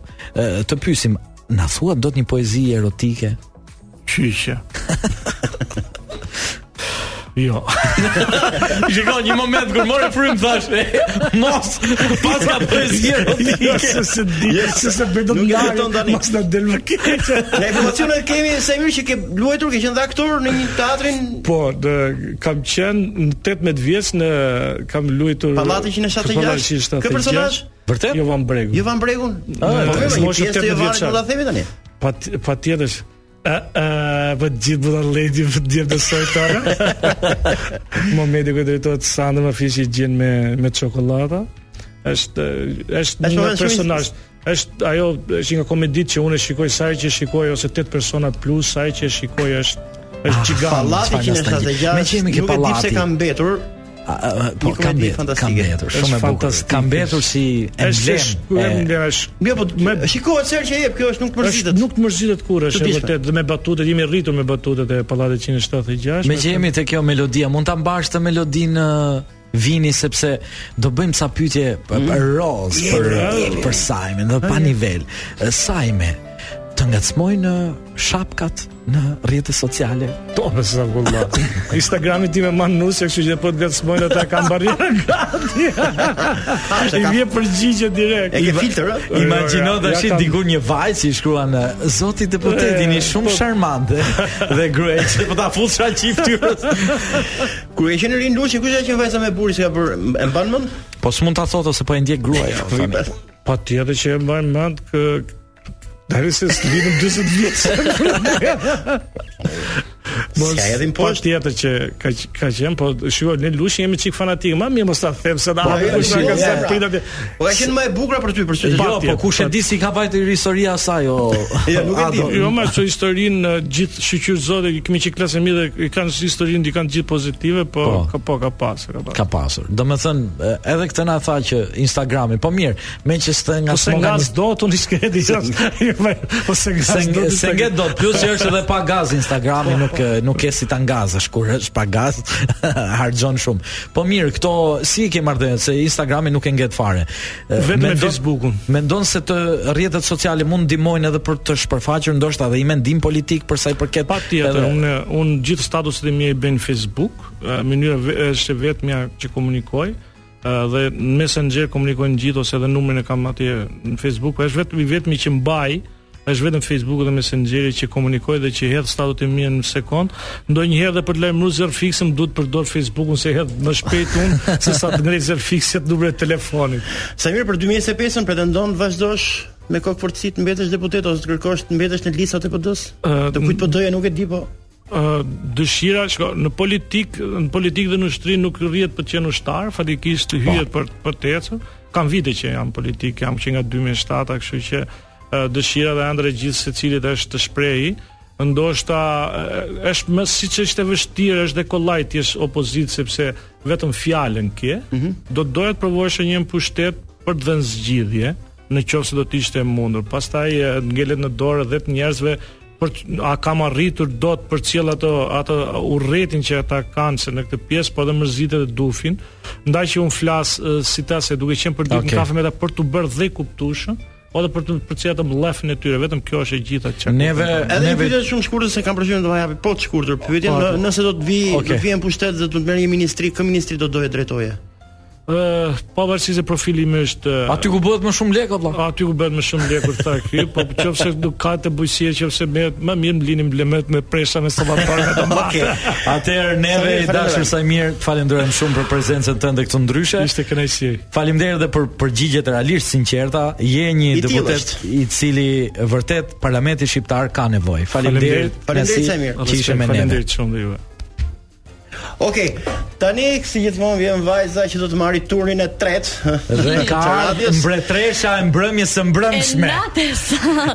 Të pyesim, na thua do të një poezi erotike?
Qyqe. jo.
Shikoj një moment kur morë frym thash, e, mos Jo, pas ka poezi
erotike. Jo, Se se di, se se bëj do të ngjarë. Mos na del më keq.
Ne informacionet kemi se mirë që ke luajtur, ke qenë aktor në një teatrin.
Po, dhe, kam qenë në 18 vjeç në kam luajtur
Pallati 176. Kë personazh?
Vërtet?
Jovan Bregun.
Jovan Bregun?
Ah,
Po, më shumë 18 vjeç. Do ta themi tani.
Patjetër. Po gjithë bëda ledi për djemë të sojtare Momenti ku drejtojt Sandra më fishi gjenë me, me çokolata është është një personazh është ajo është nga komedit që unë e shikoj sa që shikoj ose 8 persona plus sa që shikoj është është gjigant.
Pallati 176.
Me qemi ke pallati.
Nuk e di pse ka mbetur,
A, a, a, po ka mbetur, ka mbetur, shumë e bukur. Ka mbetur si emblem.
Është jo, po me shikohet se që jep, kjo është nuk mërzitet.
Nuk mërzitet kurrë, është vërtet dhe me batutet jemi rritur me batutet e Pallatit 176.
Me që jemi te kjo melodia, mund ta mbash të melodinë vini sepse do bëjmë sa pyetje për Roz, për për Sajmin, dhe pa nivel. Sajme, të ngacmojnë shapkat në rrjetet sociale.
To me sa vulla. Instagrami tim e man nusja, kështu që po të ngacmojnë ata kanë barriera gati. I vjen përgjigje direkt.
E ke filtr?
Imagjino tash dikur një vajzë që i shkruan zoti deputet jeni shumë charmante dhe gruaja që po ta full shaqi fytyrës.
Kur e qenë rin luçi, kush e qenë vajza me burri që ka bërë e mban mend?
Po s'mund ta thotë ose po e ndjek gruaja.
Po tjetër që e mban mend kë Tani se s'lidhëm 40 vjetë
Mos ja edhim poshtë
tjetër që ka ka qenë, po shikoj ne Lushi jemi çik fanatik, më mirë mos ta them se na hapë kush ka sa prita.
Po ka qenë më e bukur për ty për
çfarë? Jo, po kush e di si ka vajtur historia e saj o.
Jo, nuk e di.
Jo, më çu historinë gjithë shqyrzotë kemi çik klasë mi dhe kanë historinë di kanë gjithë pozitive, po ka po ka
ka
pasur,
pasur. Ka pasur. Domethënë edhe këtë na tha që Instagrami, po mirë, me që s'të nga
s'mo Po nga dot unë s'ke di jo, ose
nga se nga dot, plus që është edhe pa gaz Instagrami nuk nuk ke si ta ngazësh kur është pa gaz, harxhon shumë. Po mirë, këto si i ke marrë se Instagrami nuk e ngjet fare.
Vetëm me Facebookun.
Mendon se të rrjetet sociale mund ndihmojnë edhe për të shpërfaqur ndoshta edhe i mendim politik për sa i përket.
Patjetër, edhe... unë unë gjithë statuset e mia i bëj në Facebook, mënyra është vetmja që komunikoj ë, dhe në Messenger komunikojnë gjithë ose edhe numrin e kam atje në Facebook, po është vetëm i vetmi që mbaj është vetëm Facebooku dhe Messengeri që komunikoj dhe që hedh statutin mirë në sekond. Ndonjëherë dhe për të lajmëruar zer fiksëm duhet të përdor Facebookun se hedh më shpejt unë se sa të ngrej zer fikse të numrit të telefonit.
Samir për 2025-ën pretendon të vazhdosh me kokë forcit mbetesh deputet ose të kërkosh të mbetesh në listat e PD-s? Të kujt po doja nuk e di po.
Ë, dëshira shko, në politik, në politik dhe në ushtri nuk rrihet për të qenë ushtar, fatikisht të hyjet për për të ecur. Kam vite që jam politik, jam që nga 2007-a, kështu që ë, dëshira dhe ëndra e gjithë secilit është të shprehi. Ndoshta ë, është më siç është e vështirë, është dhe kollaj të jesh opozitë sepse vetëm fjalën ke. Do të doja të provosh një pushtet për të dhënë zgjidhje në qoftë se do të ishte e mundur. Pastaj ë, ngelet në dorë 10 njerëzve për t- a kam arritur dot për cilë ato ato urrëtin që ata kanë se në këtë pjesë po dhe mërzitet e dufin, ndaj që un flas ë, si ta se duke qenë për ditën
Okej.
kafe me ta për të bërë dhe kuptueshëm, po dhe për të për cilat të mllafin e tyre, vetëm kjo është e gjitha çka.
Neve
Edhe një
neve
pyetje shumë shkurtër se kam përshtypjen do ta japi po të shkurtër pyetjen, në- nëse do të vi, do
Okej.
të vijë në pushtet dhe do të merr një ministri, kë ministri do doje drejtoje?
Ë, pavarësisht se profili im është ë,
aty ku bëhet më shumë lekë vëlla.
aty ku bëhet më shumë lekë kur tha ky, po nëse nuk ka të bujësia, nëse merret më mirë mlinim blemet me presha me sallatarë me domatë.
Atëherë neve i dashur
Samir, faleminderit.
Samir, të falenderojmë shumë për prezencën tënde këtu ndryshe.
Ishte kënaqësi.
Faleminderit edhe për përgjigjet realisht sinqerta. Je një
I tillë
deputet
është.
i cili vërtet parlamenti shqiptar ka nevojë. Faleminderit.
Faleminderit,
Nasi
Samir.
Që ishe me ne.
Faleminderit shumë dhe juve.
Okej, tani si gjithmonë vjen vajza që do të marrë turin e tretë.
Dhe ka
të
ardhur
radios.
mbretëresha e mbrëmjes së mbrëmshme.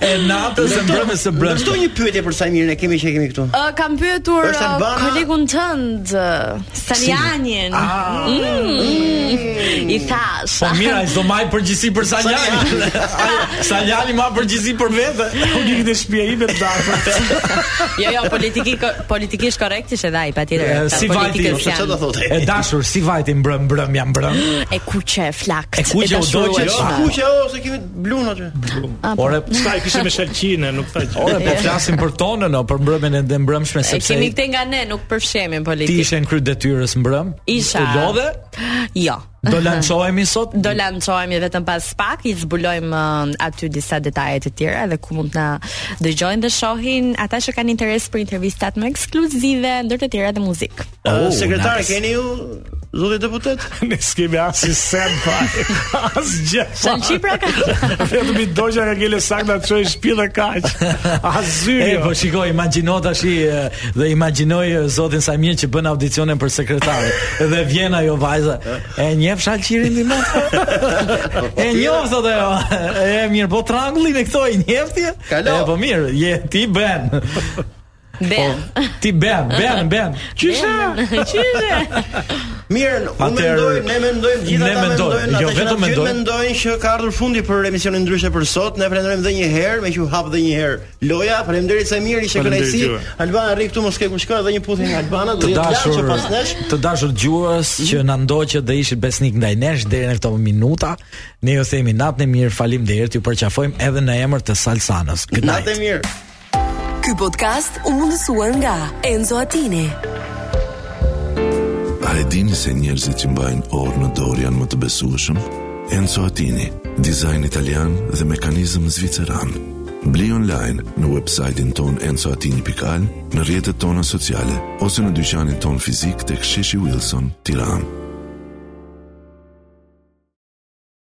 E natës së mbrëmjes së
Vazhdo
mbrëmshme.
një pyetje për Samirin, e kemi që e kemi këtu.
Uh, kam pyetur
Është
uh,
Albana?
kolegun tënd, uh, Sanianin.
Ah.
Mm, I thash.
Ah, Po mira, ai do maj përgjithësi për Saljani. Ai- Saljani ma përgjithësi për vete.
Unë ikë në shtëpi ime të dashur.
jo, jo, politiki, politikisht korrekt ishte dhe ai patjetër.
E,
ka
si vajti,
politikës
ose
Çfarë do
janë.
thotë?
E dashur, si vajti mbrëm mbrëm jam mbrëm.
E kuqe, e flakt.
E kuqe, u doqe,
Jo,
dashurueshme.
kuqe o se kemi blun aty.
po.
Ore,
Sa e kishe me shalqine, nuk tha gjë.
ore po flasim për tonën, o, për mbrëmjen e dhe mbrëmshme
E
sepse
kemi këte nga ne, nuk përfshemi
ti
politik.
ishe në kryt detyrës mbrëm.
Isha.
U lodhe?
Jo.
Do lançohemi sot?
Do lançohemi vetëm pas pak, i zbulojmë uh, aty disa detaje të tjera dhe ku mund të na dëgjojnë dhe shohin ata që kanë interes për intervistat më ekskluzive, ndër të tjera dhe muzikë.
Oh, Sekretare
nice.
keni ju zoti deputet?
Ne s'kemi as i sen pa As gjë
Shalqi pra ka.
Po.
Vetëm i dogja nga gele sakta të qoj shpi dhe kaq As zyri
E, po shiko, imagjino tash e, dhe imagjinoj e, zotin Samir që bën audicionin për sekretare dhe vjen ajo vajza. E njeh shalqirin ti më? E njeh thotë ajo. E mirë, po trangullin e këto i njeh ti?
Kalo.
E po mirë, je ti ben. Po.
Ben.
Ti ben, ben, ben.
Qyshe
Qyre.
Mirë, unë
Atëherë,
mendoj, ne mendojmë gjithë
ne
ata
mendojmë,
mendojnë,
jo,
ata që na
vetëm
pyet
mendojmë.
mendojnë që ka ardhur fundi për emisionin ndryshe për sot. Ne falenderojmë edhe një herë, me që u hap edhe një herë loja. Faleminderit Samir, ishte
Faleminderit
kënaqësi.
juve.
Albana rri këtu mos ke ku shkoj, edhe një puthje nga Albana, do
Të
jetë larg
dashur,
që pas nesh.
të dashur djues që na ndoqët dhe ishit besnik ndaj nesh deri në këto minuta, ne ju themi natën e mirë, faleminderit, ju përqafojmë edhe në emër të Salsanës. Good night.
Natë e mirë.
Ky podcast u mundësua nga Enzo Attini.
A e dini se njerëzit që mbajnë orë në dorë janë më të besueshëm? Enzo Attini, dizajn italian dhe mekanizëm zviceran. Bli online në websajtin ton enzoatini.al, në rrjetet tona sociale ose në dyqanin ton fizik tek Sheshi Wilson, Tiranë.